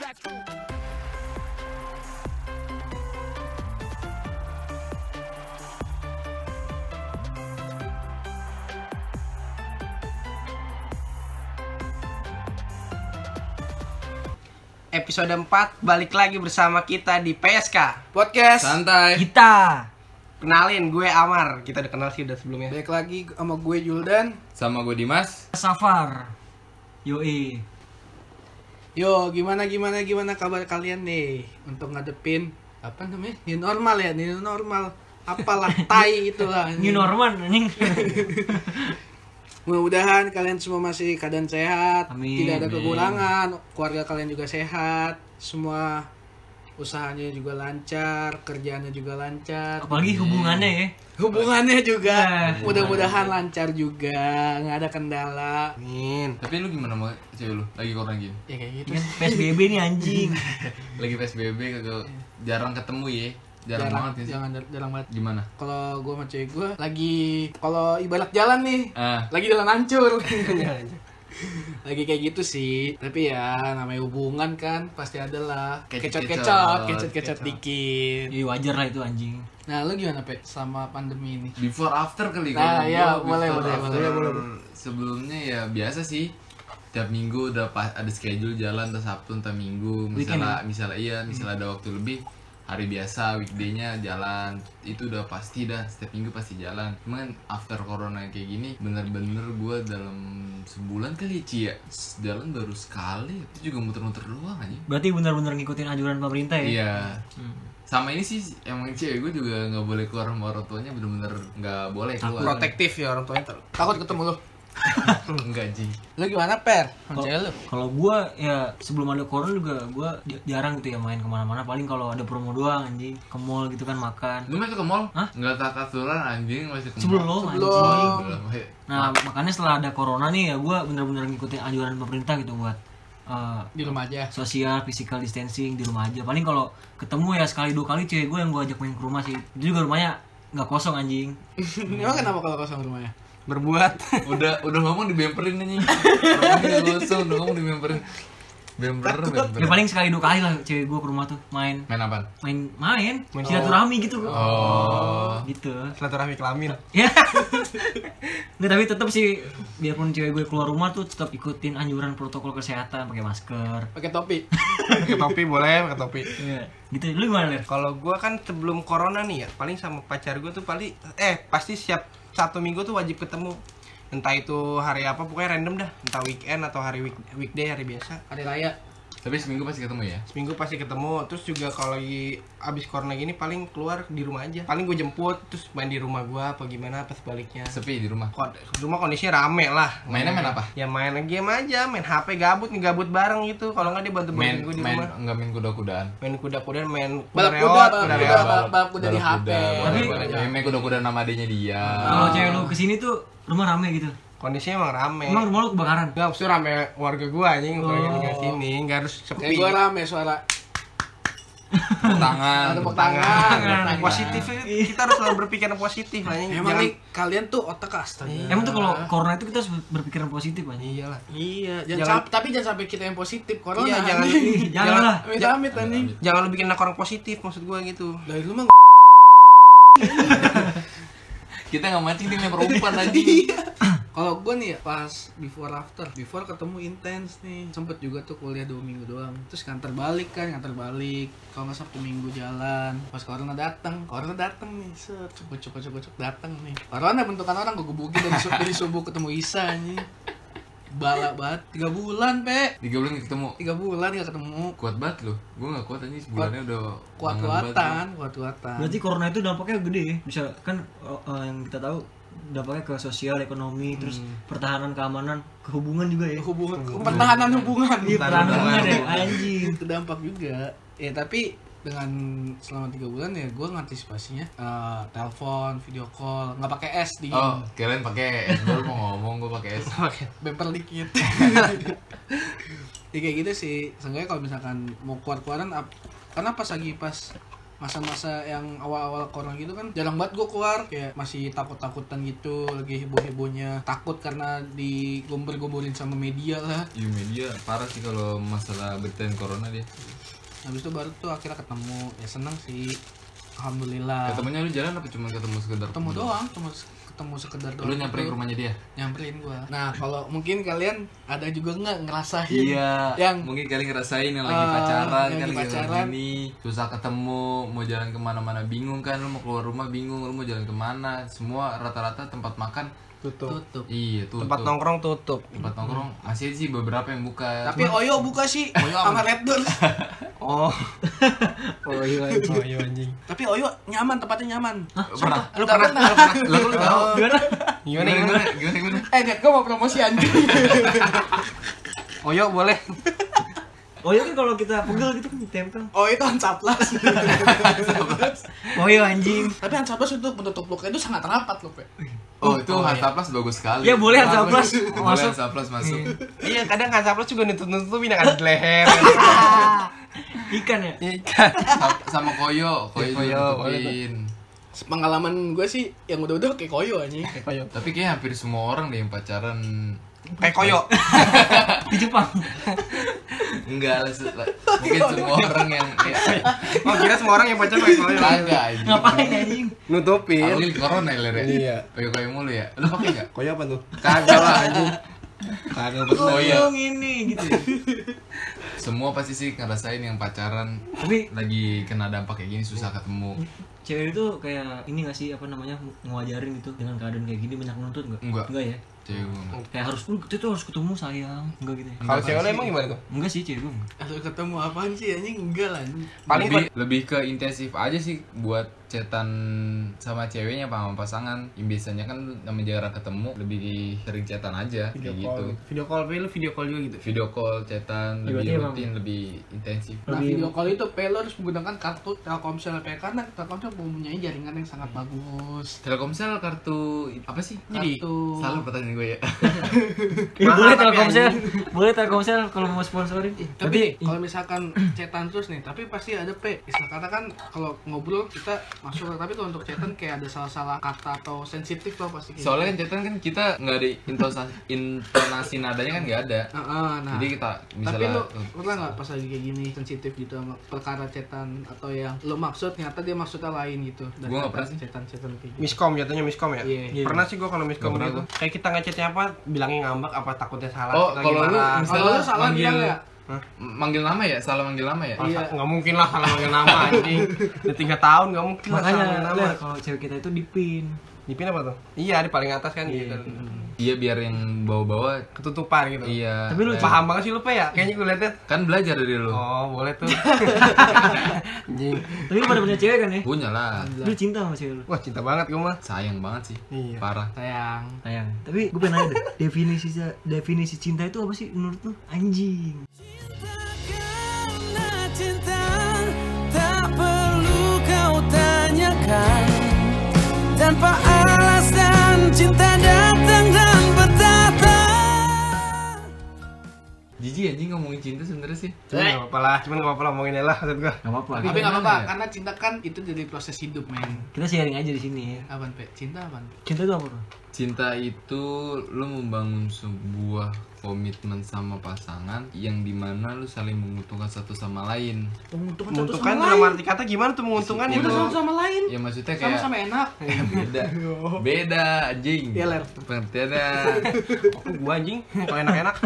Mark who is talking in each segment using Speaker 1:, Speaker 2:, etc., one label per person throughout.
Speaker 1: Let's go.
Speaker 2: Episode 4 balik lagi bersama kita di PSK
Speaker 3: Podcast
Speaker 4: Santai.
Speaker 5: kita
Speaker 2: Kenalin gue Amar, kita udah kenal sih udah sebelumnya
Speaker 3: Balik lagi sama gue Juldan
Speaker 4: Sama gue Dimas.
Speaker 5: Safar Yoi
Speaker 3: Yo gimana gimana gimana kabar kalian nih Untuk ngadepin Apa namanya? New normal ya? New normal Apalah tai gitu itulah
Speaker 5: New normal anjing
Speaker 3: Mudah-mudahan kalian semua masih keadaan sehat
Speaker 5: Amin,
Speaker 3: Tidak ada
Speaker 5: amin.
Speaker 3: kekurangan Keluarga kalian juga sehat Semua usahanya juga lancar Kerjaannya juga lancar
Speaker 4: Iya.
Speaker 2: Oh.
Speaker 5: Apalagi hubungannya ya
Speaker 3: Hubungannya juga
Speaker 2: Nah.
Speaker 5: Eh,
Speaker 3: Mudah-mudahan lancar juga nggak ada kendala
Speaker 2: Amin
Speaker 4: Tapi lu gimana sama cewek lu? Lagi corona gini.
Speaker 3: Ya kayak gitu
Speaker 5: Kan PSBB nih anjing
Speaker 4: Lagi PSBB kagak jarang ketemu ya. Jarang, banget ya sih.
Speaker 3: Jangan jarang banget
Speaker 4: Gimana?
Speaker 3: kalau gue sama cewek gue lagi kalau ibarat jalan nih
Speaker 4: Ah,
Speaker 3: lagi jalan hancur lagi kayak gitu sih tapi ya namanya hubungan kan pasti ada lah
Speaker 4: Kecot-kecot.
Speaker 3: kecot kecot kecot kecot dikit
Speaker 5: Yoi wajar lah itu anjing
Speaker 3: nah lu gimana pe sama pandemi ini
Speaker 4: before after kali
Speaker 3: Nah,
Speaker 4: kalau
Speaker 3: iya,
Speaker 4: gua
Speaker 3: boleh,
Speaker 4: before
Speaker 3: boleh,
Speaker 4: after.
Speaker 3: boleh,
Speaker 4: Sebelumnya ya biasa sih. Tiap minggu udah pa- ada schedule jalan entah Sabtu entah
Speaker 3: ya?
Speaker 4: Minggu. Misalnya misalnya iya, misalnya ada waktu lebih hari biasa weekday-nya jalan itu udah pasti dah setiap minggu pasti jalan cuman after corona kayak gini bener-bener gue dalam sebulan kali Ci, ya jalan baru sekali itu juga muter-muter doang aja
Speaker 5: Berarti benar-benar ngikutin anjuran pemerintah
Speaker 3: Eh.
Speaker 5: ya
Speaker 4: Iya.
Speaker 3: Hmm.
Speaker 4: Sama ini sih emang cewek gue juga nggak boleh keluar sama orang tuanya bener-bener nggak boleh keluar.
Speaker 2: Protektif ya orang tuanya ter-
Speaker 3: takut ketemu lu
Speaker 4: Enggak ji.
Speaker 3: lu gimana per sama
Speaker 5: Kalau-
Speaker 3: cewek lu
Speaker 5: Kalau gua ya sebelum ada corona juga gua di- jarang gitu ya main kemana-mana Paling kalau ada promo doang anjing Ke mall gitu kan makan
Speaker 4: Lu masih ke mall?
Speaker 5: Hah?
Speaker 4: Nggak tak aturan anjing masih ke mall.
Speaker 5: Sebelum anjing
Speaker 3: Belum.
Speaker 4: Belum, ayo.
Speaker 5: Nah makanya setelah ada corona nih ya gua benar-benar ngikutin anjuran pemerintah gitu buat eh,
Speaker 3: di rumah aja
Speaker 5: sosial physical distancing di rumah aja paling kalau ketemu ya sekali dua kali cewek gue yang gue ajak main ke rumah sih Itu juga rumahnya nggak kosong anjing
Speaker 3: emang kenapa kalau kosong rumahnya
Speaker 2: Berbuat
Speaker 4: Udah udah ngomong di bemperin anjing. Orang udah gosong udah ngomong di bemperin. Bemper bemper.
Speaker 5: ya paling sekali dua kali lah cewek gue ke rumah tuh main
Speaker 4: Main apaan?
Speaker 5: main main silaturahmi gitu
Speaker 4: Oh.
Speaker 5: gitu
Speaker 2: silaturahmi kelamin
Speaker 5: ya nggak tapi tetap sih biarpun cewek gue keluar rumah tuh tetap ikutin anjuran protokol kesehatan pakai masker
Speaker 3: pakai topi
Speaker 2: Pakai topi boleh, pakai topi
Speaker 5: Iya. gitu lu gimana Ler?
Speaker 2: Kalau gue kan sebelum corona nih ya, paling sama pacar gue tuh paling Eh, pasti siap satu minggu tuh wajib ketemu Entah itu hari apa, pokoknya random dah Entah weekend atau hari week- weekday, hari biasa
Speaker 3: hari raya
Speaker 4: Tapi seminggu pasti ketemu ya.
Speaker 2: Seminggu pasti ketemu, terus juga kalau lagi abis corona gini paling keluar di rumah aja Paling gue jemput, terus main di rumah gue apa gimana, apa sebaliknya
Speaker 4: Sepi di rumah.
Speaker 2: Kon- rumah kondisinya rame lah
Speaker 4: Mainnya main apa?
Speaker 2: ya main game aja main HP gabut ngegabut bareng gitu kalau nggak dia bantu bantu
Speaker 4: Main
Speaker 2: gue di
Speaker 4: main
Speaker 2: rumah
Speaker 4: nggak main kuda-kudaan.
Speaker 2: main kuda-kudaan main
Speaker 3: balap
Speaker 2: reot,
Speaker 3: kuda balap kuda
Speaker 2: reot.
Speaker 3: balap balap kuda di HP
Speaker 4: Tapi
Speaker 5: Tapi- Oh.
Speaker 4: main kuda-kudaan sama adiknya dia.
Speaker 5: kalau cewek lu kesini tuh rumah rame gitu
Speaker 2: kondisinya emang Oh. rame
Speaker 5: emang rumah lu kebakaran
Speaker 2: nggak maksudnya rame warga gue anjing warga tinggal sini nggak harus
Speaker 3: kayak
Speaker 2: sepi
Speaker 3: gue Eh, rame suara
Speaker 4: Tepuk tangan.
Speaker 3: tepuk tangan
Speaker 2: Nah, positif kita harus selalu berpikiran positif anjing
Speaker 3: Emang nih kalian tuh otak astaga.
Speaker 5: emang tuh kalau corona itu kita harus berpikiran positif anjing
Speaker 2: iyalah
Speaker 3: Iya, jangan,
Speaker 2: Jangan-
Speaker 3: sampai- tapi jangan sampai kita yang positif corona.
Speaker 2: iya jangan
Speaker 5: jangan lah
Speaker 3: amit amit anjing.
Speaker 2: jangan lu bikin anak orang positif maksud gue gitu
Speaker 3: Dari lu mah
Speaker 4: Kita nggak mancing dia main perempuan aja.
Speaker 3: kalau gue nih ya, pas before after, before ketemu intens nih. Sempet juga tuh kuliah dua minggu doang. Terus nganter balik kan, nganter balik. Kalau nggak sabtu minggu jalan. Pas corona datang, corona datang nih, set, cepet cepet cepet cepet datang nih. Corona bentukan orang gue gebukin dari, su- dari subuh ketemu Isa nih. Balak banget, tiga bulan pe,
Speaker 4: Tiga bulan nggak ketemu.
Speaker 3: tiga bulan gak ketemu.
Speaker 4: Kuat banget loh. Gue nggak kuat aja sebulannya udah banget banget
Speaker 3: Kuat-kuatan, kuat-kuatan.
Speaker 5: Berarti corona itu dampaknya gede ya. Bisa kan eh, eh, yang kita tahu dampaknya ke sosial, ekonomi, terus pertahanan, keamanan, Hmm. kehubungan juga ya.
Speaker 3: hubungan pertahanan hubungan
Speaker 5: Iya, pertahanan hubungan ya anjing.
Speaker 3: Iya, itu dampak juga ya tapi dengan selama tiga bulan ya gue ngantisipasinya eh, telepon video call nggak pakai es di
Speaker 4: tuh. Oh, kalian pakai es baru mau ngomong gue pakai es.
Speaker 3: bemper dikit ya kayak gitu sih seenggaknya kalau misalkan mau keluar keluaran karena pas lagi pas masa-masa yang awal-awal corona gitu kan jarang banget gue keluar kayak masih takut-takutan gitu lagi heboh-hebohnya takut karena digomber-gomborin sama media lah
Speaker 4: Iya media parah sih kalau masalah beritain corona dia.
Speaker 3: habis itu baru tuh akhirnya ketemu ya seneng sih alhamdulillah
Speaker 4: Ketemunya lu jalan apa cuma Ah. ketemu sekedar?
Speaker 3: ketemu doang cuma se- ketemu sekedar doang
Speaker 4: Lu nyamperin ke
Speaker 3: gitu.
Speaker 4: rumahnya dia?
Speaker 3: nyamperin gua nah kalau mungkin kalian ada juga nggak ngerasain
Speaker 4: Iya.
Speaker 3: Yang-
Speaker 4: mungkin kalian ngerasain yang lagi
Speaker 3: Ah, yang
Speaker 4: pacaran kan
Speaker 3: lagi
Speaker 4: lagi
Speaker 3: pacaran.
Speaker 4: gini susah ketemu mau jalan kemana-mana bingung kan lu mau keluar rumah bingung lu mau jalan kemana semua rata-rata tempat makan
Speaker 2: tutup
Speaker 3: tutup
Speaker 4: iya tuh
Speaker 2: tempat nongkrong tutup
Speaker 4: tempat nongkrong masih sih beberapa yang buka
Speaker 3: tapi Oyo buka sih sama Red Door
Speaker 2: oh
Speaker 5: Oh iya. anjing.
Speaker 2: oh iya anjing
Speaker 3: tapi Oyo nyaman tempatnya nyaman
Speaker 4: pernah
Speaker 2: lu pernah lu pernah lu pernah
Speaker 5: Gimana?
Speaker 2: gimana gimana
Speaker 4: gimana gimana
Speaker 3: eh Dad gua mau promosi anjing
Speaker 2: oyo boleh
Speaker 5: Oh iya kan kalau kita pegel gitu kan ditempel.
Speaker 3: Oyo itu Ansaplas
Speaker 5: Oh iya anjing.
Speaker 3: tapi Ansaplas itu penutup looknya itu sangat rapat loh Pe
Speaker 4: oh itu Hansaplas bagus sekali
Speaker 5: Ya boleh Hansa Plus.
Speaker 4: boleh
Speaker 5: Masuk.
Speaker 4: Hansaplas masuk
Speaker 2: iya kadang kasaplus juga nutup nutupin kan di leher
Speaker 5: Ikan ya.
Speaker 2: ikan
Speaker 4: Sa- sama koyo koyo
Speaker 2: Iya,
Speaker 4: juga
Speaker 2: Koyo, boleh tuh.
Speaker 4: tutupin.
Speaker 3: pengalaman gue sih yang udah-udah kayak Oyo anjing
Speaker 2: oyo
Speaker 4: tapi kayaknya hampir semua orang deh yang pacaran
Speaker 2: kayak koyo
Speaker 5: Di Jepang.
Speaker 4: enggak lah se- lah. mungkin semua
Speaker 2: Iya.
Speaker 4: orang yang ya,
Speaker 2: oh kira semua orang yang pacar kayak koyo
Speaker 4: kagak anjing.
Speaker 5: Ngapain Iya, anjing?
Speaker 4: Kalau
Speaker 2: nutupin
Speaker 4: ini corona ya Ler ya?
Speaker 2: Iya.
Speaker 4: Pakai kayu mulu ya? Lu pakai enggak?
Speaker 2: koyo apa tuh
Speaker 4: Kagak lah anjing.
Speaker 2: kagak
Speaker 4: Oh iya.
Speaker 5: Untung ini gitu. ya.
Speaker 4: Semua pasti sih ngerasain yang pacaran
Speaker 5: Tapi
Speaker 4: lagi kena dampak kayak gini susah ketemu.
Speaker 5: cewek itu kayak ini gak sih apa namanya ngewajarin gitu dengan keadaan kayak gini banyak nuntut nggak?
Speaker 4: Enggak.
Speaker 5: Enggak ya.
Speaker 4: Cewek gua kan enggak.
Speaker 5: Kayak harus lu kita tuh harus ketemu sayang. Enggak gitu ya.
Speaker 2: kalau cewek lu emang gimana tuh
Speaker 5: Enggak sih cewek gue.
Speaker 3: Aduh ketemu apaan sih anjing enggak lah anjing.
Speaker 2: paling
Speaker 4: lebih, lebih ke intensif aja sih buat cetan sama ceweknya apa sama pasangan. Yang biasanya kan namanya jarang ketemu, lebih sering cetan aja kayak gitu.
Speaker 2: video call tapi lu video call juga gitu
Speaker 4: Video call, cetan
Speaker 5: Iya,
Speaker 4: lebih
Speaker 5: berarti
Speaker 4: rutin, lebih intensif.
Speaker 3: Nah
Speaker 5: Lebih-
Speaker 3: video call itu Pe lo harus menggunakan kartu Telkomsel Pe karena Telkomsel mempunyai jaringan yang sangat bagus.
Speaker 4: Telkomsel kartu apa sih? Jadi
Speaker 3: Kartu-
Speaker 4: salah pertanyaan gue ya.
Speaker 5: Ya,
Speaker 2: Mahal
Speaker 5: boleh
Speaker 2: tapi
Speaker 5: Telkomsel. Boleh Telkomsel kalau mau sponsorin. Eh,
Speaker 3: Tapi
Speaker 5: Tapi
Speaker 3: kalau misalkan cetan terus nih, tapi pasti ada P. Istilah kata kan kalau ngobrol kita masuk, tapi kalau untuk cetan kayak ada salah-salah kata atau sensitif loh pasti. kayak
Speaker 4: Soalnya
Speaker 3: gitu.
Speaker 4: kan cetan kan kita nggak ada intonasi, intonasi nadanya kan nggak ada.
Speaker 3: Ah, ah, nah.
Speaker 4: Jadi kita
Speaker 3: tapi
Speaker 4: misalnya
Speaker 3: lu pernah nggak pas lagi kayak gini sensitif gitu sama perkara cetan atau yang lo maksud ternyata dia maksudnya lain gitu. Dan
Speaker 4: Gua nggak
Speaker 3: ternyata
Speaker 4: pernah sih.
Speaker 3: Cetan-cetan kayak gitu.
Speaker 2: miskom jatuhnya miskom ya
Speaker 3: Iya.
Speaker 2: pernah sih gua kalau miskom
Speaker 4: Nggak pernah
Speaker 2: gitu kayak kita ngechatnya apa bilangnya ngambek apa takutnya salah
Speaker 4: Oh,
Speaker 2: kita
Speaker 4: kalau lu
Speaker 2: gimana.
Speaker 4: mis-
Speaker 3: Kalau lo
Speaker 4: Misalnya
Speaker 3: salah bilang
Speaker 4: manggil-
Speaker 3: ya,
Speaker 4: M- manggil nama ya, salah manggil nama ya.
Speaker 2: Masa-
Speaker 3: Iya.
Speaker 2: nggak mungkin lah salah manggil nama anjing udah tiga tahun nggak mungkin lah salah manggil
Speaker 5: makanya
Speaker 2: nama
Speaker 5: Ler, kalau cewek kita itu dipin.
Speaker 2: dipin apa tuh iya di paling atas kan gitu
Speaker 4: Iya biar yang bawa-bawa.
Speaker 2: ketutupan gitu
Speaker 4: Iya.
Speaker 5: Tapi lu
Speaker 4: Nah,
Speaker 2: paham banget sih lu Pe, ya kayaknya gue liatnya
Speaker 4: kan belajar dari lu.
Speaker 2: oh boleh tuh anjing
Speaker 5: Tapi lu pada punya cewek kan ya?
Speaker 4: Punya lah.
Speaker 5: Lu cinta sama cewek lu?
Speaker 2: wah cinta banget gue mah
Speaker 4: Sayang banget sih.
Speaker 2: Iya.
Speaker 4: Parah.
Speaker 3: sayang.
Speaker 5: Sayang. Tapi gue pengen nanya deh, definisi definisi cinta itu apa sih menurut lu? Anjing.
Speaker 1: Karena cinta tak perlu kau tanyakan Tanpa alasan cinta datang dan bertata
Speaker 4: Jiji anjing ngomongin cinta sebenarnya sih.
Speaker 2: cuman nggak apa-apa lah cuman nggak apa-apa lah ngomongin lah maksud gue
Speaker 5: Gak apa-apa.
Speaker 3: Tapi
Speaker 4: Tapi
Speaker 3: nggak apa-apa,
Speaker 4: gimana ya?
Speaker 3: karena cinta kan itu jadi proses hidup men.
Speaker 5: Kita sharing aja di sini ya.
Speaker 3: Apaan Pe? Cinta apaan? Pe?
Speaker 5: Cinta itu apa? Bro?
Speaker 4: Cinta itu lu membangun sebuah komitmen sama pasangan yang dimana lu saling menguntungkan satu sama lain.
Speaker 3: Menguntungkan satu
Speaker 2: menguntungkan
Speaker 3: sama
Speaker 2: dalam
Speaker 3: lain.
Speaker 2: arti kata gimana tuh menguntungkan
Speaker 4: Iya,
Speaker 2: itu
Speaker 3: Menguntungkan satu sama lain.
Speaker 4: Ya maksudnya kayak
Speaker 3: Sama-sama enak.
Speaker 4: Eh, beda beda anjing
Speaker 3: Iya, Ler.
Speaker 4: pengertiannya
Speaker 2: Oh, gua anjing kalau enak-enak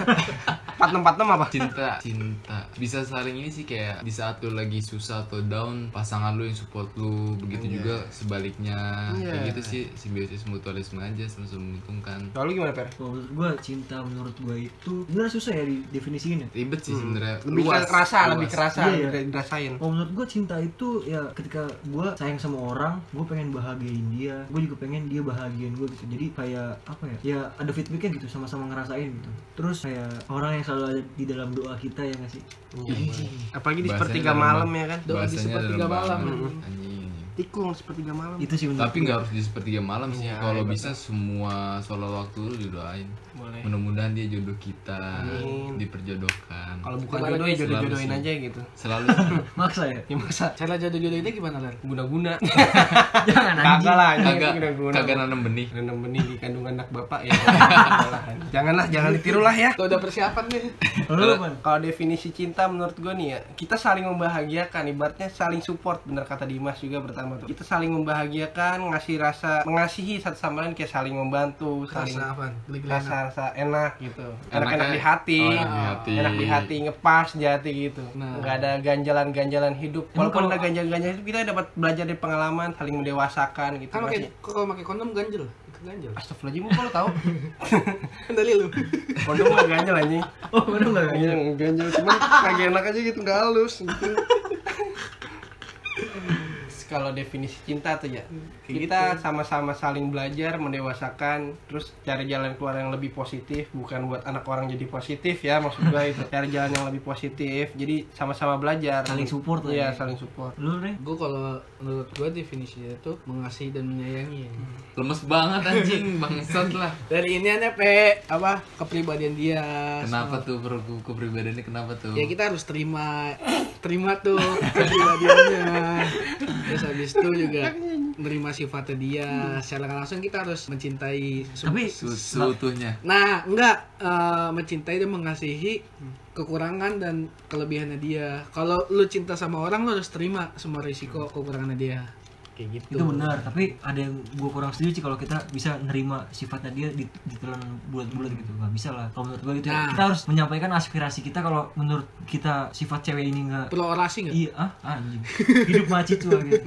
Speaker 2: 4646 apa
Speaker 4: cinta cinta bisa saling ini sih kayak di saat lu lagi susah atau down pasangan lu yang support lu
Speaker 2: Iya.
Speaker 4: begitu juga sebaliknya kayak gitu sih simbiosis mutualisme aja sama-sama menguntungkan
Speaker 2: kalau lu gimana per
Speaker 5: Kalau menurut gue cinta menurut gue itu bener susah ya didefinisiin ya.
Speaker 4: ribet sih sebenarnya
Speaker 2: Hmm. lebih
Speaker 4: Luas,
Speaker 2: kerasa
Speaker 4: luas.
Speaker 2: lebih kerasa
Speaker 5: Iya, iya.
Speaker 2: udah dirasain
Speaker 5: Kalau menurut gue cinta itu ya ketika gue sayang sama orang, gue pengen bahagiain dia, gue juga pengen dia bahagiain gue gitu. Jadi kayak apa ya? Ya ada feedbacknya gitu, sama-sama ngerasain gitu. Terus kayak orang yang selalu ada di dalam doa kita ya nggak sih?
Speaker 4: Iya.
Speaker 2: apalagi di
Speaker 4: Bahasanya
Speaker 2: sepertiga
Speaker 4: dalam
Speaker 2: malam
Speaker 4: banget.
Speaker 2: ya kan
Speaker 3: Doa di
Speaker 4: Bahasanya
Speaker 3: sepertiga
Speaker 4: dalam
Speaker 3: malam,
Speaker 4: banget.
Speaker 3: anjing.
Speaker 4: anjing anjing.
Speaker 2: tikung sepertiga malam
Speaker 4: Iya.
Speaker 5: Itu sih menurut
Speaker 4: tapi nggak harus di sepertiga malam sih
Speaker 2: Iya,
Speaker 4: kalau
Speaker 2: iya,
Speaker 4: bisa semua solo waktu lu didoain
Speaker 3: boleh
Speaker 4: mudah-mudahan dia jodoh kita
Speaker 2: Amin.
Speaker 4: diperjodohkan
Speaker 2: Kalau bukan
Speaker 3: Coba
Speaker 2: jodoh ya
Speaker 3: lagi.
Speaker 2: jodoh-jodohin
Speaker 4: Selalu
Speaker 2: aja gitu.
Speaker 4: selalu
Speaker 5: Maksa ya?
Speaker 2: Ya masa
Speaker 3: cara jodoh-jodohinnya gimana Ler?
Speaker 2: guna-guna.
Speaker 5: Jangan anjing.
Speaker 2: Kagak lah,
Speaker 4: kagak
Speaker 2: jangan guna-guna.
Speaker 4: kagak nanam benih
Speaker 2: Rendam benih di kandungan anak bapak ya. Janganlah, jangan ditiru lah ya.
Speaker 3: Tuh udah persiapan nih
Speaker 5: Kalau lu apaan?
Speaker 2: Kalau definisi cinta menurut gue nih ya, kita saling membahagiakan, ibaratnya saling support, bener kata Dimas juga pertama tuh. Kita saling membahagiakan, ngasih rasa, mengasihi satu sama lain, kayak saling membantu, saling
Speaker 3: rasa apa? Geli-gelian
Speaker 2: rasa rasa enak gitu, enak enak
Speaker 4: Enaknya-
Speaker 2: di hati,
Speaker 4: oh, enak di hati.
Speaker 2: enak di hati, ngepas jati gitu,
Speaker 3: Nah.
Speaker 2: nggak ada ganjalan-ganjalan hidup. Walaupun
Speaker 5: kalau-
Speaker 2: ada ganjalan-ganjalan hidup, kita dapat belajar dari pengalaman, saling mendewasakan gitu.
Speaker 3: kan pakai
Speaker 2: Masih-
Speaker 3: kalau pakai kondom ganjel itu ganjel
Speaker 2: Astagfirullahaladzim, kok lo tau?
Speaker 3: kan dari lu
Speaker 2: Kondom mah ganjel anjing
Speaker 5: Oh, bener nggak?
Speaker 2: Ganjel, ganjel, cuman kagak enak aja gitu, gak halus gitu Terus Kalau definisi cinta tuh ya
Speaker 5: Hmm, gitu
Speaker 2: Kita sama-sama saling belajar, mendewasakan Terus cari jalan keluar yang lebih positif Bukan buat anak orang jadi positif ya Maksud gue itu Cari jalan yang lebih positif Jadi sama-sama belajar
Speaker 5: Saling support lah
Speaker 2: Iya,
Speaker 5: ya.
Speaker 2: saling support
Speaker 5: Lu nih?
Speaker 3: gue kalau menurut gue definisinya itu mengasihi dan menyayangi ya.
Speaker 4: lemes banget anjing bangsat lah
Speaker 3: dari ini aneh pe apa kepribadian dia
Speaker 4: kenapa tuh per- ke- kepribadiannya kenapa tuh
Speaker 3: ya kita harus terima terima tuh kepribadiannya terus habis itu juga menerima sifatnya dia
Speaker 4: Hmm.
Speaker 3: secara nggak langsung kita harus mencintai se-
Speaker 5: Tapi
Speaker 4: Su- seutuhnya
Speaker 3: nah enggak eh, mencintai dan mengasihi kekurangan dan kelebihannya dia kalau lu cinta sama orang lu harus terima semua risiko kekurangannya dia kayak gitu
Speaker 5: itu benar, tapi ada yang gue kurang setuju sih kalau kita bisa nerima sifatnya dia di- ditelan bulat-bulat gitu nggak bisa lah kalau menurut gue gitu ya.
Speaker 3: Nah.
Speaker 5: kita harus menyampaikan aspirasi kita kalau menurut kita sifat cewek ini nggak
Speaker 3: perlu orasi nggak
Speaker 5: Iya, ah, anjing. Hidup maci tua gitu.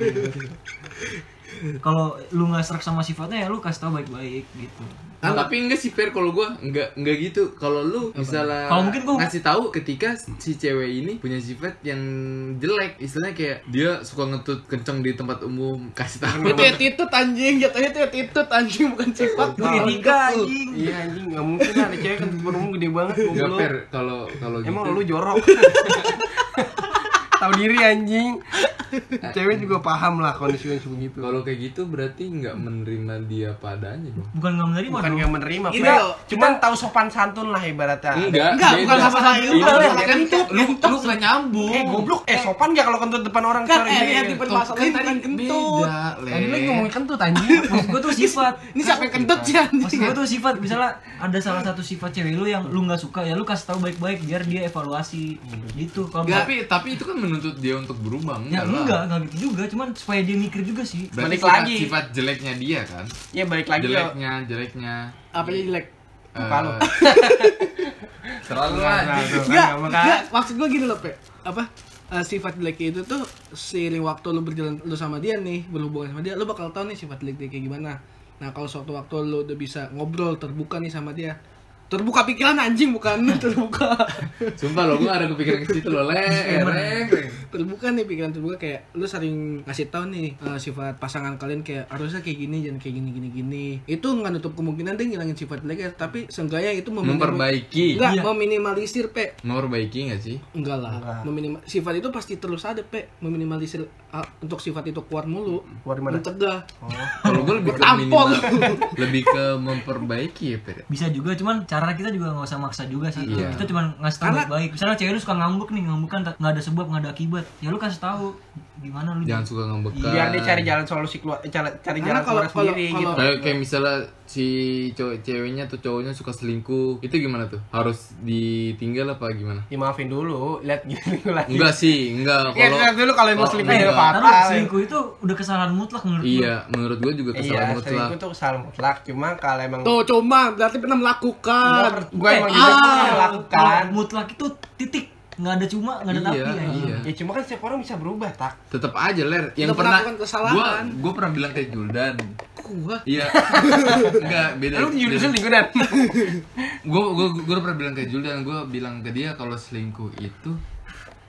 Speaker 5: Kalau lu nggak serak sama sifatnya ya lu kasih tau baik-baik gitu.
Speaker 4: Nah, tapi enggak sih Fer kalau gua enggak enggak gitu. Kalau lu misalnya
Speaker 5: Kalau mungkin gua-
Speaker 4: ngasih tahu ketika si cewek ini punya sifat yang jelek, istilahnya kayak dia suka ngetut kenceng di tempat umum, kasih tahu.
Speaker 3: itu attitude anjing jatuhnya itu attitude anjing bukan sifat
Speaker 5: Lu ya tiga anjing.
Speaker 2: Iya anjing, gak mungkin lah ada cewek kan burung gede banget
Speaker 4: Enggak
Speaker 2: goblok.
Speaker 4: Fer kalau kalau gitu.
Speaker 2: Emang lu jorok. Tahu diri anjing. Cewek juga paham lah kondisi kondisi begitu.
Speaker 4: Kalau kayak gitu berarti nggak menerima dia padanya dong.
Speaker 5: Bukan nggak menerima.
Speaker 2: Bukan
Speaker 5: dong.
Speaker 2: nggak menerima,
Speaker 3: Ini
Speaker 2: Fe.
Speaker 3: loh,
Speaker 2: cuman tahu sopan santun lah ibaratnya.
Speaker 4: Enggak,
Speaker 3: Iya. Enggak,
Speaker 4: beda.
Speaker 3: bukan masalah itu.
Speaker 4: Ini
Speaker 3: Bukan
Speaker 4: kan
Speaker 3: kentut,
Speaker 4: lu lu nggak nyambung.
Speaker 2: Eh goblok, eh sopan gak kalau kentut depan orang?
Speaker 3: kan
Speaker 2: Sorry,
Speaker 3: eh
Speaker 2: iya,
Speaker 3: yang
Speaker 2: iya.
Speaker 3: dipermasalahin
Speaker 4: Kan
Speaker 3: tadi kentut
Speaker 4: Beda, Le.
Speaker 2: Tadi lu ngomongin kentut anjing.
Speaker 5: Maksud gue tuh sifat.
Speaker 3: ini siapa yang kentut sih
Speaker 5: Maksud
Speaker 3: anjing
Speaker 5: gue tuh sifat. Misalnya ada salah satu sifat cewek lu yang lu nggak suka ya lu kasih tahu baik-baik biar dia evaluasi. Gitu. Kalau
Speaker 4: Enggak, tapi tapi itu kan menuntut dia untuk berubah, enggak
Speaker 5: Ya
Speaker 4: lah.
Speaker 5: enggak, enggak gitu juga, cuman supaya dia mikir juga sih.
Speaker 4: Berarti
Speaker 2: Balik
Speaker 4: sifat,
Speaker 2: lagi.
Speaker 4: sifat jeleknya dia kan.
Speaker 2: Ya balik lagi Oh, ya.
Speaker 4: jeleknya, jeleknya.
Speaker 3: apa yang jelek
Speaker 2: Muka lu.
Speaker 4: Eh, Terlalu lah.
Speaker 2: Nah, tuh, kan,
Speaker 3: enggak
Speaker 2: maka-
Speaker 3: enggak maksud gue gini loh pe apa eh, sifat jelek itu tuh seiring waktu lu berjalan lu sama dia nih berhubungan sama dia lu bakal tahu nih sifat jelek dia kayak gimana nah kalau suatu waktu lu udah bisa ngobrol terbuka nih sama dia terbuka pikiran anjing bukan terbuka
Speaker 4: Sumpah lo, gue ada kepikiran ke situ lo, le, reng, reng.
Speaker 3: terbuka nih pikiran terbuka kayak lu sering ngasih tahu nih eh, sifat pasangan kalian kayak harusnya kayak gini jangan kayak gini gini gini itu nggak nutup kemungkinan dia ngilangin sifat jeleknya tapi seenggaknya itu meminim-
Speaker 4: Memperbaiki,
Speaker 3: Enggak,
Speaker 5: Iya.
Speaker 3: meminimalisir pe
Speaker 4: memperbaiki nggak sih?
Speaker 3: enggak lah
Speaker 2: Enggak.
Speaker 3: Meminima- sifat itu pasti terus ada pe meminimalisir ah, untuk sifat itu keluar mulu
Speaker 2: Keluar di mana?
Speaker 3: mencegah
Speaker 4: Kalau gue lebih ke
Speaker 3: Tampol.
Speaker 4: minimal, lebih ke memperbaiki ya, Pir.
Speaker 5: bisa juga cuman cara kita juga nggak usah maksa juga sih
Speaker 4: Iya.
Speaker 5: kita cuman ngasih tahu
Speaker 3: Karena-
Speaker 5: baik misalnya cewek lu suka ngambek nih ngambek kan tak- nggak ada sebab nggak ada akibat ya lu kasih tahu gimana lu
Speaker 4: Jangan suka ngambekan.
Speaker 2: Biar dia cari jalan solusi keluar, eh, cari, cari
Speaker 3: Karena
Speaker 2: jalan
Speaker 3: kalau-
Speaker 2: keluar
Speaker 3: kalau-
Speaker 2: sendiri
Speaker 3: kalau-
Speaker 2: gitu.
Speaker 4: Kayak, kayak misalnya si cowok ceweknya atau cowoknya suka selingkuh, itu gimana tuh? Harus ditinggal apa gimana?
Speaker 2: Ya maafin dulu, lihat gini lagi.
Speaker 4: Enggak sih, enggak.
Speaker 2: Ya, lihat dulu kalau emang
Speaker 4: Oh,
Speaker 2: selingkuh ya
Speaker 4: enggak.
Speaker 2: fatal.
Speaker 5: karena Eh, selingkuh itu udah kesalahan mutlak menurut gua.
Speaker 4: Iya, menurut gue juga kesalahan
Speaker 2: Iya,
Speaker 4: mutlak.
Speaker 2: selingkuh tuh kesalahan mutlak. Cuma kalau emang
Speaker 3: tuh cuma berarti pernah melakukan
Speaker 2: gue emang
Speaker 5: Eh,
Speaker 2: juga
Speaker 5: ah,
Speaker 2: pernah melakukan.
Speaker 5: kalau mutlak itu titik nggak ada cuma nggak ada
Speaker 4: Iya,
Speaker 5: tapi ya.
Speaker 4: iya.
Speaker 2: Ya cuma kan setiap orang bisa berubah, tak.
Speaker 4: Tetap aja ler, yang
Speaker 3: Tetep
Speaker 4: pernah
Speaker 3: melakukan kesalahan.
Speaker 4: gua gua pernah bilang ke Juldan.
Speaker 3: gua
Speaker 4: Iya. Enggak, beda.
Speaker 3: Iya,
Speaker 2: Lu
Speaker 4: beda.
Speaker 2: judul selingkuh dan
Speaker 4: gue gue gue pernah bilang ke Jul dan gue bilang ke dia kalau selingkuh itu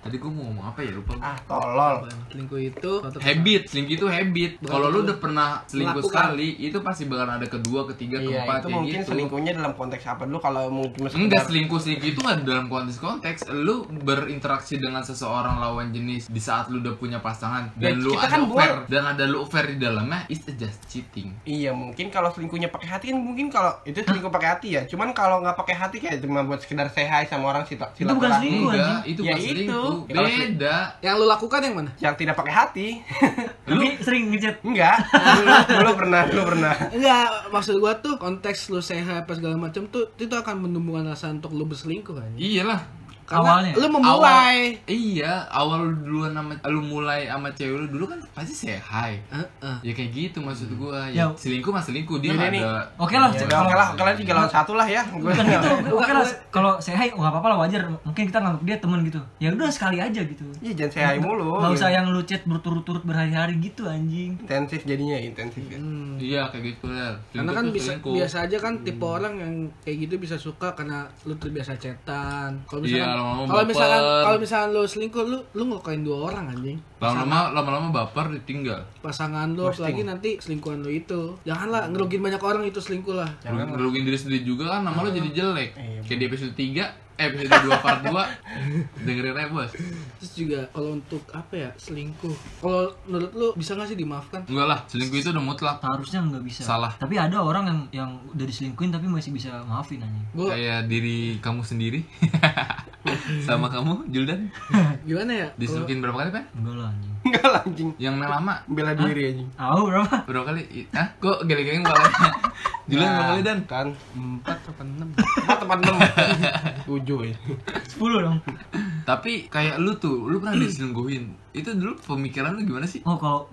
Speaker 4: Tadi gue mau ngomong apa ya lupa. gua.
Speaker 2: ah tolol
Speaker 3: selingkuh itu suatu
Speaker 4: Habit, selingkuh itu habit.
Speaker 3: Bukan
Speaker 4: Kalau
Speaker 3: lu
Speaker 4: lu udah pernah selingkuh
Speaker 2: melakukan.
Speaker 4: sekali, itu pasti bakal ada kedua, ketiga,
Speaker 2: iya
Speaker 4: keempat
Speaker 2: itu
Speaker 4: kayak
Speaker 2: mungkin
Speaker 4: gitu.
Speaker 2: selingkuhnya dalam konteks apa dulu kalau mau cuma
Speaker 4: Enggak
Speaker 2: sekedar-
Speaker 4: selingkuh selingkuh itu nggak dalam konteks konteks lu berinteraksi dengan seseorang lawan jenis di saat lu udah punya pasangan
Speaker 2: Ya,
Speaker 4: dan lu
Speaker 2: kita
Speaker 4: ada
Speaker 2: kan
Speaker 4: affair dan ada lu affair di dalamnya it's just cheating.
Speaker 2: Iya mungkin kalau selingkuhnya pakai hati kan mungkin kalau itu selingkuh pakai hati ya. Cuman kalau nggak pakai hati kayak cuma buat sekedar say hi sama orang sila
Speaker 5: Itu bukan
Speaker 2: silaturahmi.
Speaker 5: selingkuh
Speaker 4: Enggak,
Speaker 5: anjing.
Speaker 4: itu
Speaker 2: Ya
Speaker 4: bukan
Speaker 2: itu.
Speaker 4: selingkuh.
Speaker 2: Kalau sel-
Speaker 4: Beda.
Speaker 3: yang lu lakukan yang mana
Speaker 2: Yang tidak pakai hati
Speaker 5: Tapi sering ngechat.
Speaker 2: enggak. Dulu, dulu pernah, dulu pernah.
Speaker 3: Enggak, maksud gua tuh konteks lu sehat apa segala macam tuh itu akan menumbuhkan rasa untuk lu berselingkuh kan.
Speaker 4: Iyalah.
Speaker 3: Karena
Speaker 5: Awalnya.
Speaker 3: lu memulai.
Speaker 4: Iya, awal duluan sama lu mulai sama cewek lu dulu kan pasti say hi.
Speaker 3: Heeh.
Speaker 4: Ya kayak gitu maksud gua. Ya,
Speaker 5: Ya.
Speaker 4: selingkuh mah selingkuh dia
Speaker 2: Gini
Speaker 4: nggak
Speaker 2: nih.
Speaker 4: ada.
Speaker 5: Oke lah,
Speaker 2: Ya
Speaker 5: cek-
Speaker 2: udah
Speaker 5: kalau
Speaker 2: oke lah, oke lah tiga lawan satu lah ya. Gue
Speaker 5: bukan gitu. Oke lah, kalau saya hai nggak apa-apa lah wajar. Mungkin kita nganggap dia teman gitu. Ya udah sekali aja gitu.
Speaker 2: Iya jangan say hi mulu. Gitu.
Speaker 5: Gak usah yang lu chat berturut-turut berhari-hari gitu anjing.
Speaker 2: intensif jadinya intensif ya.
Speaker 3: Hmm.
Speaker 4: Iya kayak gitu lah.
Speaker 3: Karena
Speaker 4: Selingkuh
Speaker 3: kan
Speaker 4: tuh
Speaker 3: bisa
Speaker 4: selingkuh. Hmm.
Speaker 3: biasa aja kan tipe orang yang kayak gitu bisa suka karena lu terbiasa cetan. Kalau misalkan
Speaker 4: Iya, lama-lama
Speaker 3: kalau
Speaker 4: baper.
Speaker 3: misalkan kalau misalkan lu selingkuh lu lu ngelukain dua orang anjing.
Speaker 4: lama-lama lama-lama baper ditinggal.
Speaker 3: Pasangan lu apalagi nanti selingkuhan lu itu. Janganlah
Speaker 4: Hmm.
Speaker 3: ngerugin banyak orang itu selingkuh lah. Iya,
Speaker 4: Rugi- Ngerugin diri sendiri juga kan nama lo jadi jelek. Kayak di episode 3 eh episode 2 part 2 dengerin aja bos
Speaker 3: Terus juga kalau untuk apa ya selingkuh. Kalau menurut lu bisa nggak sih dimaafkan?
Speaker 4: enggak lah selingkuh itu udah mutlak
Speaker 5: Harusnya nggak bisa.
Speaker 4: Salah.
Speaker 5: Tapi ada orang yang yang udah diselingkuhin tapi masih bisa maafin anjing.
Speaker 3: Gua
Speaker 4: kayak diri kamu sendiri sama kamu Juldan
Speaker 3: gimana ya? Kalau-
Speaker 4: diselukin berapa kali pak
Speaker 5: Enggak lah anjing.
Speaker 2: Enggak lah anjing.
Speaker 4: yang lama
Speaker 2: Bela diri anjing.
Speaker 5: Tahu berapa?
Speaker 4: berapa kali I- ah kok geleng-geleng kepalanya Juldan berapa
Speaker 3: Nah.
Speaker 4: kali dan
Speaker 2: kan.
Speaker 3: empat apa enam
Speaker 2: Empat teman enam. Tujuh ya.
Speaker 5: 10 dong.
Speaker 4: tapi kayak lu tuh lu pernah diselingkuhin itu dulu pemikiran lu gimana sih
Speaker 5: Oh kalau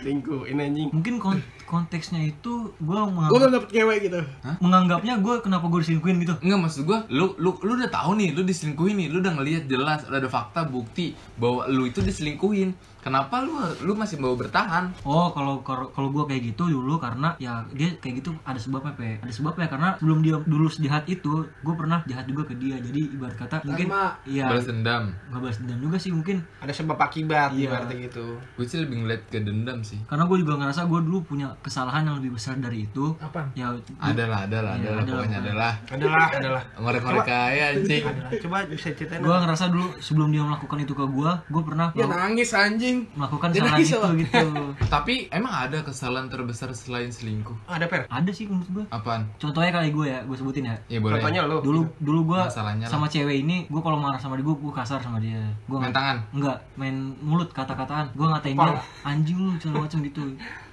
Speaker 2: Selingkuh ini anjing.
Speaker 5: mungkin kon- konteksnya itu gue
Speaker 3: gue belum dapet cewek gitu
Speaker 5: menganggapnya gue kenapa gue diselingkuhin gitu
Speaker 4: Enggak maksud gua, lu lu lu udah tahu nih, lu diselingkuhin nih, lu udah ngelihat jelas, udah ada fakta bukti bahwa lu itu diselingkuhin. Kenapa lu lu masih mau bertahan?
Speaker 5: Oh, kalau kalau gue kayak gitu dulu karena ya dia kayak gitu ada sebabnya pe, ada sebabnya karena sebelum dia dulu jahat itu gue pernah jahat juga ke dia jadi ibarat kata mungkin
Speaker 3: Karma.
Speaker 5: iya
Speaker 4: Balas dendam.
Speaker 5: nggak balas dendam juga sih mungkin
Speaker 2: Ada sebab akibat
Speaker 5: Iya.
Speaker 2: ibaratnya gitu.
Speaker 4: Gue sih lebih ngeliat ke dendam sih.
Speaker 5: karena gue juga ngerasa gue dulu punya kesalahan yang lebih besar dari itu
Speaker 3: Apa?
Speaker 5: ya
Speaker 4: Adalah, adalah, adalah,
Speaker 5: Iya, adalah,
Speaker 4: pokoknya adalah.
Speaker 2: Adalah, adalah.
Speaker 4: Ngorek-ngorek kaya anjing.
Speaker 2: Adalah. Coba bisa ceritain.
Speaker 5: gue ngerasa dulu sebelum dia melakukan itu ke gue gue pernah
Speaker 3: ya
Speaker 5: melaku-
Speaker 3: nangis anjing
Speaker 5: melakukan
Speaker 3: Dia
Speaker 5: kesalahan
Speaker 3: nangis
Speaker 5: itu
Speaker 3: apa?
Speaker 5: gitu
Speaker 4: Tapi emang ada kesalahan terbesar selain selingkuh?
Speaker 2: Oh, ada per.
Speaker 5: ada sih menurut gue
Speaker 4: Apaan?
Speaker 5: contohnya kali gue ya gue sebutin ya
Speaker 4: Ya boleh.
Speaker 2: Contohnya
Speaker 3: Oh,
Speaker 2: lo.
Speaker 5: dulu
Speaker 3: iya.
Speaker 5: dulu gue
Speaker 4: Masalahnya lah.
Speaker 5: sama cewek ini gue kalau marah sama dia gue kasar sama dia gue
Speaker 4: Main tangan?
Speaker 5: enggak main mulut kata-kataan gue ngatain dia anjing lu segala macam gitu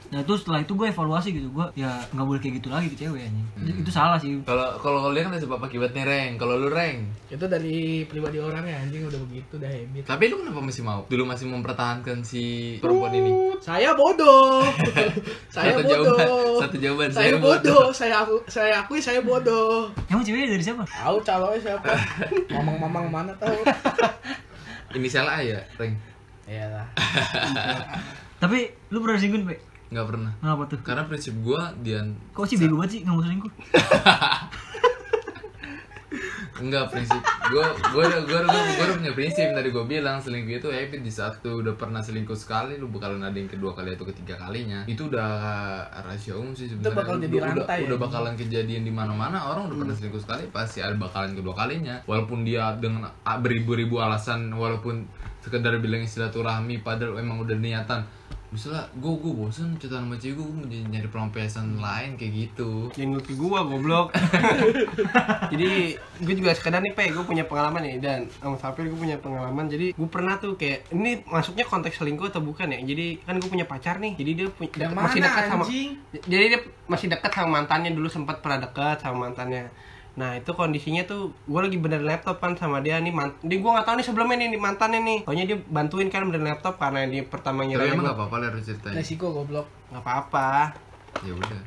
Speaker 5: nah itu setelah itu gue evaluasi gitu gue ya nggak boleh kayak gitu lagi ke cewek anjing
Speaker 4: Hmm.
Speaker 5: Itu- itu salah sih
Speaker 4: Kalau kalau kalian ada sebab akibatnya reng. Kalau lu reng,
Speaker 3: itu dari pribadi orang ya anjing udah begitu udah habit
Speaker 4: tapi lu kenapa masih mau? Dulu masih mempertahankan si perempuan ini.
Speaker 3: saya bodoh saya
Speaker 4: Satu
Speaker 3: bodoh
Speaker 4: jawaban, satu jawaban,
Speaker 3: saya
Speaker 4: saya
Speaker 3: bodoh saya aku saya akui saya bodoh
Speaker 5: emang ceweknya dari siapa
Speaker 3: tahu calonnya siapa mamang mamang mana tahu
Speaker 4: Inisial A ya, reng.
Speaker 3: iyalah
Speaker 5: tapi lu pernah singgung pe
Speaker 4: Nggak pernah.
Speaker 5: kenapa tuh
Speaker 4: Karena prinsip gua Dian
Speaker 5: kok sih bego banget sih nggak mau selingkuh
Speaker 4: enggak prinsip gue gue udah gue udah gue udah punya prinsip tadi gue bilang selingkuh itu habit di saat lu udah pernah selingkuh sekali lu bakalan ada yang kedua kali atau ketiga kalinya itu udah rahasia umum sih sebenarnya
Speaker 3: bakal
Speaker 4: Lu-
Speaker 3: jadi
Speaker 4: udah,
Speaker 3: rantai
Speaker 4: udah,
Speaker 3: ya. Hmm.
Speaker 4: bakalan kejadian di mana mana orang udah pernah selingkuh sekali pasti ada bakalan kedua kalinya walaupun dia dengan a- beribu-ribu alasan walaupun sekedar bilang silaturahmi padahal emang udah niatan misalnya gue gue bosen cerita sama cewek gue mau nyari pelampiasan lain kayak gitu
Speaker 2: Jangan ngerti gua goblok. jadi gue juga sekedar nih pe, gue punya pengalaman nih dan sama Sapir gue punya pengalaman. Jadi gue pernah tuh kayak ini masuknya konteks selingkuh atau bukan ya? Jadi kan gue punya pacar nih. Jadi dia punya
Speaker 3: yang
Speaker 2: deket-
Speaker 3: mana
Speaker 2: masih dekat sama
Speaker 3: anjing
Speaker 2: jadi dia masih dekat sama mantannya dulu sempat pernah dekat sama mantannya. Nah itu kondisinya tuh gue lagi bener laptop kan sama dia nih mant Ini gue gak tau nih sebelumnya nih, nih mantannya nih Pokoknya dia bantuin kan bener laptop karena dia pertama
Speaker 3: Iya,
Speaker 4: tapi
Speaker 2: ngira
Speaker 4: emang
Speaker 2: gue
Speaker 4: gak apa-apa lah harus ceritain
Speaker 3: resiko goblok
Speaker 2: Gak apa-apa
Speaker 4: ya udah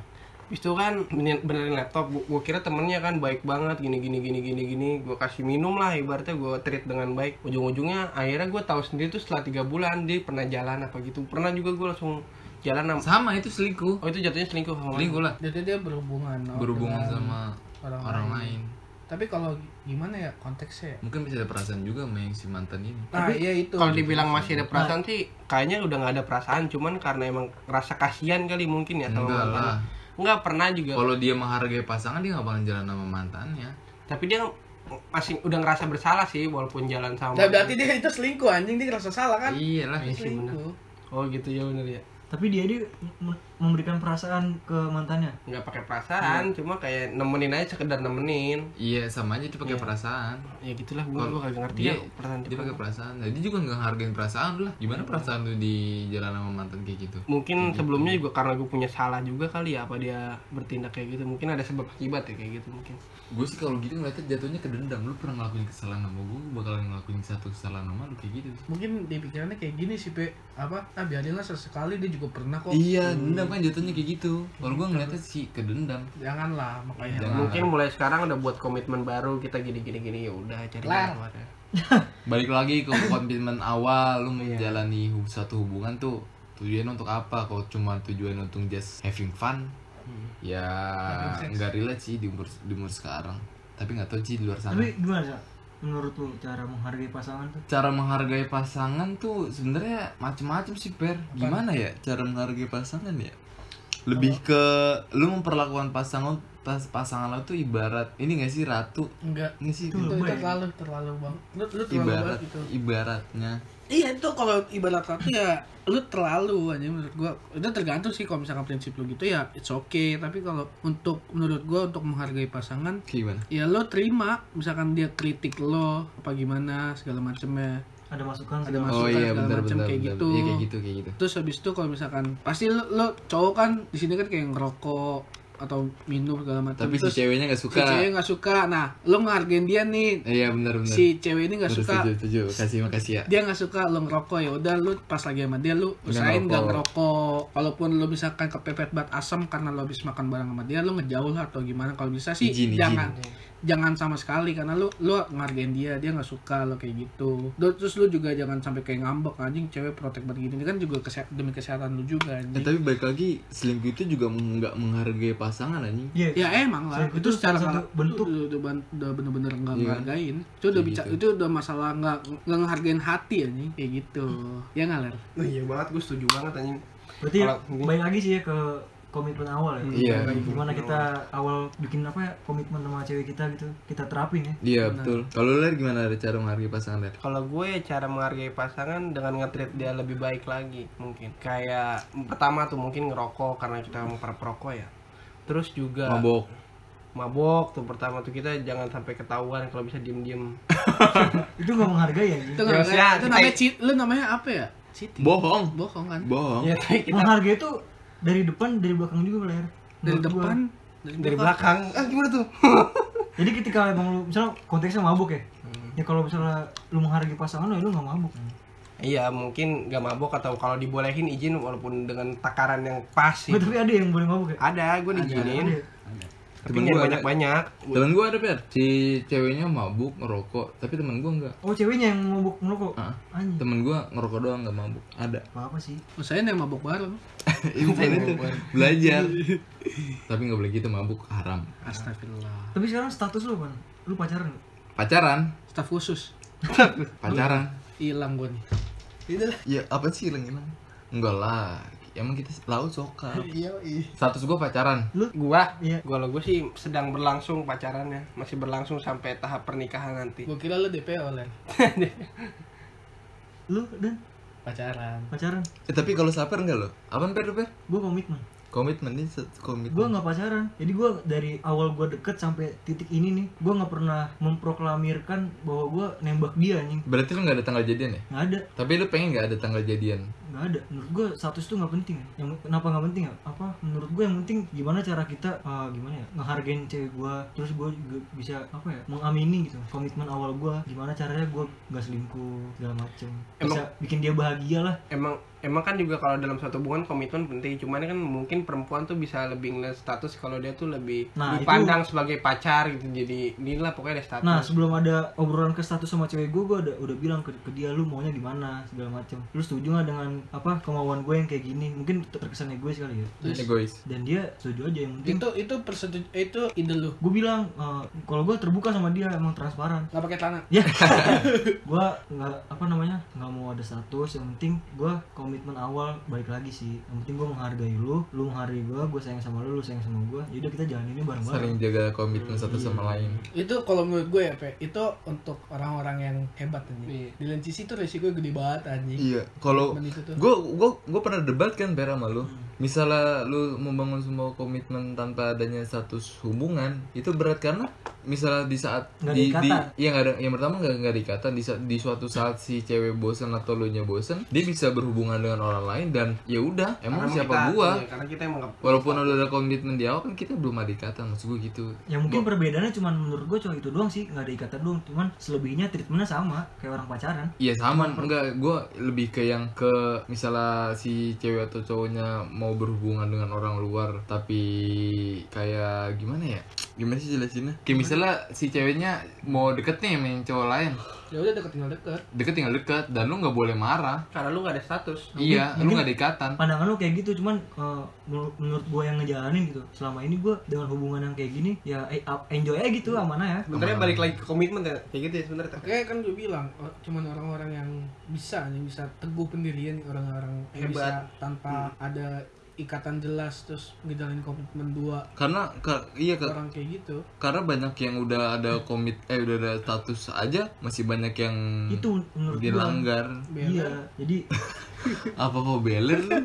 Speaker 2: Abis itu kan bener- benerin laptop, gua, gua kira temennya kan baik banget gini gini gini gini gini, gua kasih minum lah ibaratnya gua treat dengan baik. Ujung-ujungnya akhirnya gua tahu sendiri tuh setelah tiga bulan dia pernah jalan apa gitu. Pernah juga gua langsung jalan sama
Speaker 4: sama itu selingkuh
Speaker 2: Oh itu jatuhnya selingkuh sama
Speaker 4: selingkuh lah
Speaker 3: jadi dia berhubungan no,
Speaker 4: berhubungan
Speaker 3: dengan
Speaker 4: sama
Speaker 3: orang,
Speaker 4: orang
Speaker 3: lain.
Speaker 4: lain.
Speaker 3: tapi kalau gimana ya konteksnya ya?
Speaker 4: mungkin bisa ada perasaan juga sama yang si mantan ini
Speaker 3: nah
Speaker 5: Tapi-
Speaker 3: iya itu
Speaker 2: Kalau dibilang masih ada perasaan sih, Nah. kayaknya udah nggak ada perasaan. Cuman karena emang rasa kasihan kali mungkin ya sama
Speaker 4: enggak
Speaker 2: mantannya.
Speaker 4: lah
Speaker 2: Nggak pernah juga.
Speaker 4: kalau dia menghargai pasangan dia nggak bakalan jalan sama mantannya
Speaker 2: Tapi dia masih udah ngerasa bersalah sih walaupun jalan sama.
Speaker 3: Nah, berarti dia itu selingkuh anjing dia ngerasa salah kan
Speaker 4: iya lah
Speaker 2: Iya sih, bener.
Speaker 3: selingkuh
Speaker 2: Oh gitu ya bener ya.
Speaker 5: tapi dia dia me- memberikan perasaan ke mantannya
Speaker 2: Nggak pakai perasaan, cuma kayak nemenin aja sekedar nemenin.
Speaker 4: iya sama aja dia pakai
Speaker 2: Iya.
Speaker 4: perasaan
Speaker 2: Ya gitulah gue
Speaker 4: Kalau
Speaker 2: gue kagak ngerti
Speaker 4: dia-
Speaker 2: ya perasaan
Speaker 4: dia
Speaker 2: dia.
Speaker 4: pakai perasaan jadi juga nggak hargain perasaan lu lah gimana perasaan lu di jalan sama mantan kayak gitu
Speaker 2: Mungkin sebelumnya juga karena gue punya salah juga kali ya apa dia bertindak kayak gitu. Mungkin ada sebab akibat ya kayak gitu mungkin.
Speaker 4: gue sih kalau gitu ngeliatnya jatuhnya ke dendam lu pernah ngelakuin kesalahan sama gue gue bakalan ngelakuin satu kesalahan sama lu kayak gitu
Speaker 3: mungkin di pikirannya kayak gini sih pe apa ah biarinlah sesekali dia juga pernah kok
Speaker 4: iya dendam kan jatuhnya kayak gitu kalau gue ngeliatnya sih ke dendam
Speaker 3: janganlah makanya
Speaker 4: Jangan.
Speaker 2: Mungkin mulai sekarang udah buat komitmen baru kita gini gini gini ya udah cari
Speaker 3: Lah.
Speaker 2: keluar ya.
Speaker 4: balik lagi ke komitmen awal lu
Speaker 3: Iya.
Speaker 4: menjalani hub- suatu hubungan tuh tujuan untuk apa kalau cuma tujuan untuk just having fun
Speaker 3: Hmm.
Speaker 4: ya
Speaker 3: Having sex.
Speaker 4: nggak relate sih di umur di umur sekarang tapi nggak tahu sih di luar sana
Speaker 5: tapi gimana Sa? menurut lu cara menghargai pasangan tuh
Speaker 4: cara menghargai pasangan tuh sebenarnya macem-macem sih per gimana ya cara menghargai pasangan ya lebih ke lu memperlakukan pasangan pas pasangan lo tuh ibarat ini gak sih ratu
Speaker 3: enggak
Speaker 4: nggak sih
Speaker 3: itu, itu
Speaker 5: Lebay.
Speaker 3: terlalu terlalu bang lu, lu terlalu
Speaker 4: ibarat
Speaker 3: banget gitu
Speaker 4: ibaratnya
Speaker 3: iya itu kalau ibarat satu ya lu terlalu anjing menurut gua itu tergantung sih kalau misalkan prinsip lu gitu ya it's okay tapi kalau untuk menurut gua untuk menghargai pasangan
Speaker 4: kayak gimana
Speaker 3: ya lo terima misalkan dia kritik lo apa gimana segala macemnya
Speaker 5: ada masukan
Speaker 3: ada
Speaker 5: segala
Speaker 4: oh
Speaker 3: masukan kan
Speaker 4: iya
Speaker 3: segala
Speaker 4: bentar
Speaker 3: macem
Speaker 4: bentar
Speaker 3: kayak
Speaker 4: bentar.
Speaker 3: gitu
Speaker 4: Iya, kayak gitu kayak gitu
Speaker 3: terus habis itu kalau misalkan pasti lo, lo cowok kan di sini kan kayak ngerokok atau minum segala macam
Speaker 4: tapi si
Speaker 3: terus
Speaker 4: ceweknya nggak
Speaker 3: si
Speaker 4: suka
Speaker 3: cewek nggak suka nah lo ngehargain dia nih
Speaker 4: iya benar benar
Speaker 3: si cewek ini nggak
Speaker 4: Benar,
Speaker 3: suka
Speaker 4: setuju setuju kasih makasih ya
Speaker 3: dia nggak suka lo ngerokok ya udah lo pas lagi sama dia lo
Speaker 4: Nggak
Speaker 3: usahain nggak
Speaker 4: ngerokok.
Speaker 3: ngerokok walaupun lo misalkan kepepet bat asam karena lo habis makan bareng sama dia lo ngejauh lah atau gimana kalau bisa sih
Speaker 4: Izin, izin.
Speaker 3: jangan jangan sama sekali karena lo lo ngargain dia dia nggak suka lo kayak gitu Lo- terus lo juga jangan sampai kayak ngambek anjing cewek protek banget gini Ini kan juga kese- demi kesehatan lo juga
Speaker 4: Eh,
Speaker 3: anjing
Speaker 4: tapi balik lagi selingkuh itu juga nggak menghargai pasangan anjing
Speaker 5: iya
Speaker 3: ya emang lah
Speaker 5: Selingkuh
Speaker 3: itu
Speaker 5: itu
Speaker 3: secara
Speaker 5: salah
Speaker 3: nggak-
Speaker 5: satu bentuk.
Speaker 3: udah, udah ban- udah bener-bener nggak
Speaker 4: Iya.
Speaker 3: ngehargain itu udah
Speaker 4: Kayak
Speaker 3: bicara
Speaker 4: gitu.
Speaker 3: itu udah masalah nggak nggak ngehargain hati anjing kayak gitu ya nggak Ler?
Speaker 2: Oh, iya banget gue setuju banget anjing.
Speaker 5: berarti
Speaker 2: Kalau-
Speaker 5: baik lagi sih ya ke komitmen awal ya
Speaker 4: Iya.
Speaker 5: gimana kita awal bikin apa ya komitmen sama cewek kita gitu kita terapin ya
Speaker 4: Iya betul. Kalau lu Ler, gimana Ler, cara menghargai pasangan Ler?
Speaker 2: Kalau gue ya cara menghargai pasangan dengan nge-treat dia lebih baik lagi mungkin. Kayak pertama tuh mungkin ngerokok karena kita mau para perokok ya. Terus juga
Speaker 4: Mabok.
Speaker 2: mabok tuh pertama tuh kita jangan sampai ketahuan kalau bisa diem-diem.
Speaker 5: itu nggak menghargai ya
Speaker 3: itu
Speaker 5: gitu.
Speaker 3: nggak
Speaker 2: Ya,
Speaker 3: nggak-
Speaker 2: ya,
Speaker 3: itu
Speaker 2: kita-
Speaker 3: namanya cheat lu namanya apa ya cheating
Speaker 4: Bohong.
Speaker 3: bohong kan
Speaker 4: Bohong.
Speaker 2: Ya tapi kita
Speaker 5: menghargai itu dari depan dari belakang juga ler
Speaker 3: dari
Speaker 5: Menurut gua.
Speaker 3: depan
Speaker 2: dari belakang. Ah gimana tuh?
Speaker 5: jadi ketika emang lu misalnya konteksnya mabuk ya ya kalau misalnya lu menghargai pasangan lu ya lu nggak mabuk
Speaker 2: Iya mungkin gak mabok atau kalau dibolehin izin walaupun dengan takaran yang pas sih.
Speaker 5: Nggak, tapi ada yang boleh mabuk ya
Speaker 2: Ada, gue
Speaker 5: Ada
Speaker 2: diizinin.
Speaker 5: ya?
Speaker 2: Tapi
Speaker 4: Temen
Speaker 2: jangan
Speaker 4: gue ada.
Speaker 2: banyak-banyak.
Speaker 4: Temen gua ada Per, si ceweknya mabuk, ngerokok, tapi temen gua enggak.
Speaker 5: oh ceweknya yang mabuk merokok
Speaker 4: Ah.
Speaker 5: anjing
Speaker 4: Temen gua ngerokok doang nggak mabuk. Ada.
Speaker 5: apa apa sih
Speaker 3: usahain yang mabok bareng
Speaker 4: Itu
Speaker 3: Iya,
Speaker 4: itu. Belajar. tapi nggak boleh gitu mabuk haram.
Speaker 3: astagfirullah
Speaker 5: tapi sekarang status lu kan lu pacaran nggak?
Speaker 4: Pacaran,
Speaker 3: staf khusus
Speaker 4: pacaran.
Speaker 3: hilang gua nih itu lah
Speaker 4: Ya apa sih hilang-hilang? Enggak lah. Emang kita laut soka.
Speaker 3: iya iya
Speaker 4: Status gua pacaran.
Speaker 2: Gua,
Speaker 5: Iya.
Speaker 2: gua lo gue sih sedang berlangsung pacarannya, masih berlangsung sampai tahap pernikahan nanti.
Speaker 3: gua kira lu DPO Ler
Speaker 5: lu dan
Speaker 3: pacaran
Speaker 5: pacaran
Speaker 4: Eh, tapi kalau saper enggak lo? Apaan Per lu, Per?
Speaker 5: gua komitmen
Speaker 4: Komitmen ini se- komitmen.
Speaker 5: gue nggak pacaran jadi gue dari awal gue deket sampai titik ini nih gue nggak pernah memproklamirkan bahwa gue nembak dia anjing
Speaker 4: Berarti lu nggak ada tanggal jadian ya?
Speaker 5: nggak ada
Speaker 4: Tapi lu pengen nggak ada tanggal jadian?
Speaker 5: nggak ada menurut gue status tuh nggak penting yang kenapa nggak penting ya? apa menurut gue yang penting gimana cara kita eh, gimana ya ngehargain cewek gue terus gue juga bisa apa ya mengamini gitu komitmen awal gue gimana caranya gue nggak selingkuh segala macem bisa bikin dia bahagia lah
Speaker 2: Emang emang kan juga kalau dalam suatu hubungan komitmen penting, cuman kan mungkin mungkin perempuan tuh bisa lebih ngeliat status kalau dia tuh lebih
Speaker 5: Nah,
Speaker 2: dipandang sebagai pacar gitu jadi inilah pokoknya ada status
Speaker 5: Nah sebelum ada obrolan ke status sama cewek gue, gue udah, udah bilang ke, ke dia lu maunya gimana segala macem. Lu setuju nggak dengan apa kemauan gue yang kayak gini? Mungkin ter- terkesan egois kali ya.
Speaker 4: Egois.
Speaker 5: Dan dia setuju aja yang penting.
Speaker 3: itu itu persetuju itu ide lu
Speaker 5: Gue bilang "Eh, kalau gue terbuka sama dia emang transparan.
Speaker 3: nggak pakai tanah
Speaker 5: Ya, gue nggak apa namanya nggak mau ada status. Yang penting gue komitmen awal balik lagi sih. Yang penting gue menghargai lu, lu menghargai gue, gue sayang sama lu, lu sayang sama gue. Jadi kita jalaninnya bareng-bareng.
Speaker 4: Saling jaga komitmen satu sama lain.
Speaker 3: itu kalau menurut gue ya Pe, itu untuk orang-orang yang hebat
Speaker 2: Iya.
Speaker 3: anjing di lencisi itu resiko gede banget anjing
Speaker 4: Iya, kalau
Speaker 3: Komitmen itu tuh.
Speaker 4: gue gue gue pernah debat kan Bera sama lu. Misalnya lu membangun semua komitmen tanpa adanya status hubungan itu berat karena misalnya di saat
Speaker 5: Nggak ada
Speaker 4: di, di
Speaker 5: ikatan.
Speaker 4: iya nggak ada yang pertama nggak nggak ada ikatan di, sa- di suatu saat si cewek bosen atau lu nya bosen dia bisa berhubungan dengan orang lain dan ya udah emang
Speaker 2: Karena
Speaker 4: siapa
Speaker 2: kita-
Speaker 4: gua
Speaker 2: iya, karena kita emang nggak-
Speaker 4: walaupun udah ada komitmen di awal kan kita belum ada ikatan maksud gue gitu
Speaker 5: Ya mungkin perbedaannya cuman menurut gue cuma itu doang sih, nggak ada ikatan doang. Cuman selebihnya treatmentnya sama kayak orang pacaran.
Speaker 4: Iya sama, enggak gue lebih ke yang ke misalnya si cewek atau cowoknya mau berhubungan dengan orang luar tapi kayak gimana ya? Gimana sih jelasinnya? Kayak misalnya si ceweknya mau deket nih sama yang cowok lain,
Speaker 3: ya udah deket tinggal deket
Speaker 4: deket tinggal deket dan lu nggak boleh marah.
Speaker 2: karena lu nggak ada status
Speaker 4: iya, lu
Speaker 5: mungkin-
Speaker 4: nggak ada ikatan.
Speaker 5: Pandangan lu kayak gitu, cuman eh, menur- menurut gue yang ngejalanin gitu. Selama ini gue dengan hubungan yang kayak gini, ya eh, up- enjoy aja gitu amanah ya.
Speaker 2: sebenarnya balik lagi ke komitmen ya kayak gitu ya sebenarnya
Speaker 3: oke kan gue bilang o- cuman orang-orang yang bisa yang bisa teguh pendirian orang-orang yang bisa tanpa ada ikatan jelas terus ngejalanin komitmen dua
Speaker 4: Karena ka- iya ka-
Speaker 3: orang kayak gitu
Speaker 4: karena banyak yang udah ada komit eh udah ada status aja masih banyak yang
Speaker 5: Itu menurut gue.
Speaker 4: dilanggar.
Speaker 5: Iya, jadi
Speaker 4: Apa kok beler lu?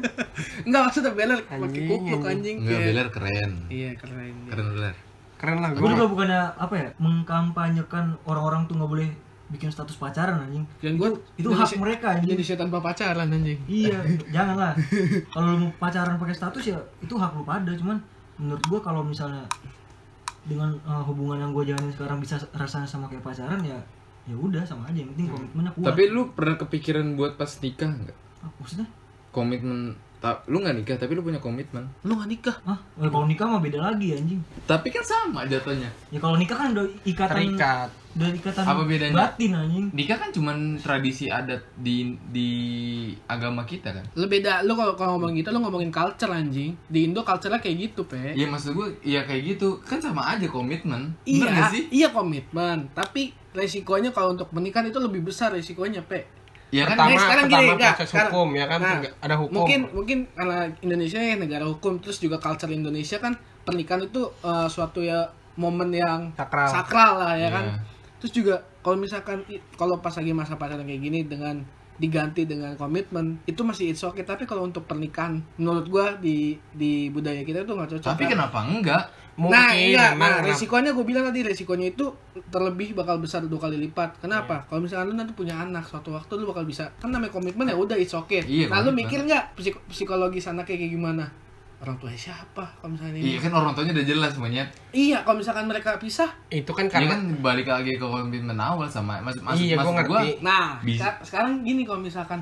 Speaker 3: Enggak maksudnya beler pakai kupluk anjing
Speaker 4: Enggak
Speaker 3: kayak-
Speaker 4: beler keren.
Speaker 3: Iya keren. dia.
Speaker 4: Keren beler.
Speaker 2: keren lah
Speaker 5: gue juga bukannya apa ya mengkampanyekan orang-orang tuh nggak boleh bikin status pacaran anjing.
Speaker 3: Dan gua
Speaker 5: Itu
Speaker 3: Indonesia-
Speaker 5: hak mereka anjing.
Speaker 3: Indonesia tanpa pacaran anjing.
Speaker 5: Iya, janganlah. Kalau lu mau pacaran pakai status ya itu hak lu pada, cuman menurut gua kalau misalnya dengan eh, hubungan yang gua jalanin sekarang bisa rasanya sama kayak pacaran ya ya udah sama aja yang penting komitmennya kuat.
Speaker 4: Hmm. Tapi lu pernah kepikiran buat pas nikah nggak?
Speaker 5: Ah, maksudnya?
Speaker 4: Komitmen ta- lu nggak nikah tapi lu punya komitmen. Lu nggak nikah.
Speaker 5: Hah? Eh, kalau nikah mah beda lagi anjing.
Speaker 4: Tapi kan sama jatuhnya.
Speaker 5: Ya kalau nikah kan udah ikatan
Speaker 2: terikat
Speaker 5: udah ikatan
Speaker 4: Apa bedanya?
Speaker 5: batin anjing.
Speaker 4: Nikah kan cuman tradisi adat di di agama kita kan.
Speaker 3: Lu beda, lu kalau kalau ngomong gitu lu ngomongin culture anjing. Di Indo culture-nya kayak gitu, Pe.
Speaker 4: Iya maksud gue, iya kayak gitu. Kan sama aja komitmen. Bener
Speaker 3: Iya,
Speaker 4: nggak sih?
Speaker 3: iya komitmen, tapi resikonya kalau untuk pernikahan itu lebih besar resikonya, Pe.
Speaker 4: Iya kan?
Speaker 2: pertama
Speaker 3: Nih, sekarang
Speaker 2: pertama
Speaker 3: gini, enggak,
Speaker 2: proses
Speaker 3: sekarang-
Speaker 2: hukum ya kan
Speaker 3: nah,
Speaker 2: Enggak- ada hukum
Speaker 3: Mungkin mungkin karena Indonesia ya negara hukum, terus juga culture Indonesia kan pernikahan itu eh, suatu ya momen yang
Speaker 2: sakral
Speaker 3: sakral lah ya kan.
Speaker 4: Iya.
Speaker 3: Terus juga kalau misalkan i- kalau pas lagi masa pacaran kayak gini dengan diganti dengan komitmen itu masih it's okay tapi kalau untuk pernikahan menurut gua di di budaya kita itu nggak cocok.
Speaker 4: Tapi
Speaker 3: Nah,
Speaker 4: kenapa enggak?
Speaker 2: mungkin
Speaker 3: nah, iya,
Speaker 2: memang
Speaker 3: nah,
Speaker 2: kenapa-
Speaker 3: resikonya gue bilang tadi resikonya itu terlebih bakal besar dua kali lipat. Kenapa?
Speaker 4: Iya.
Speaker 3: Kalau misalkan lu nanti punya anak suatu waktu lu bakal bisa kan namanya komitmen ya udah it's okay.
Speaker 4: Iya,
Speaker 3: nah, lu
Speaker 4: komitmen.
Speaker 3: mikir nggak psik- psikologis anaknya kayak gimana? Orang tua siapa kalau misalnya ini?
Speaker 4: Iya kan orang tuanya udah jelas semuanya.
Speaker 3: Iya, kalau misalkan mereka pisah,
Speaker 2: itu
Speaker 4: Iya
Speaker 2: kan karena
Speaker 4: kan balik lagi ke komitmen awal sama maksud maksud,
Speaker 2: Iya,
Speaker 4: maksud
Speaker 2: gua ngerti.
Speaker 4: gua,
Speaker 3: Nah,
Speaker 4: Bisa.
Speaker 3: seka- sekarang gini kalau misalkan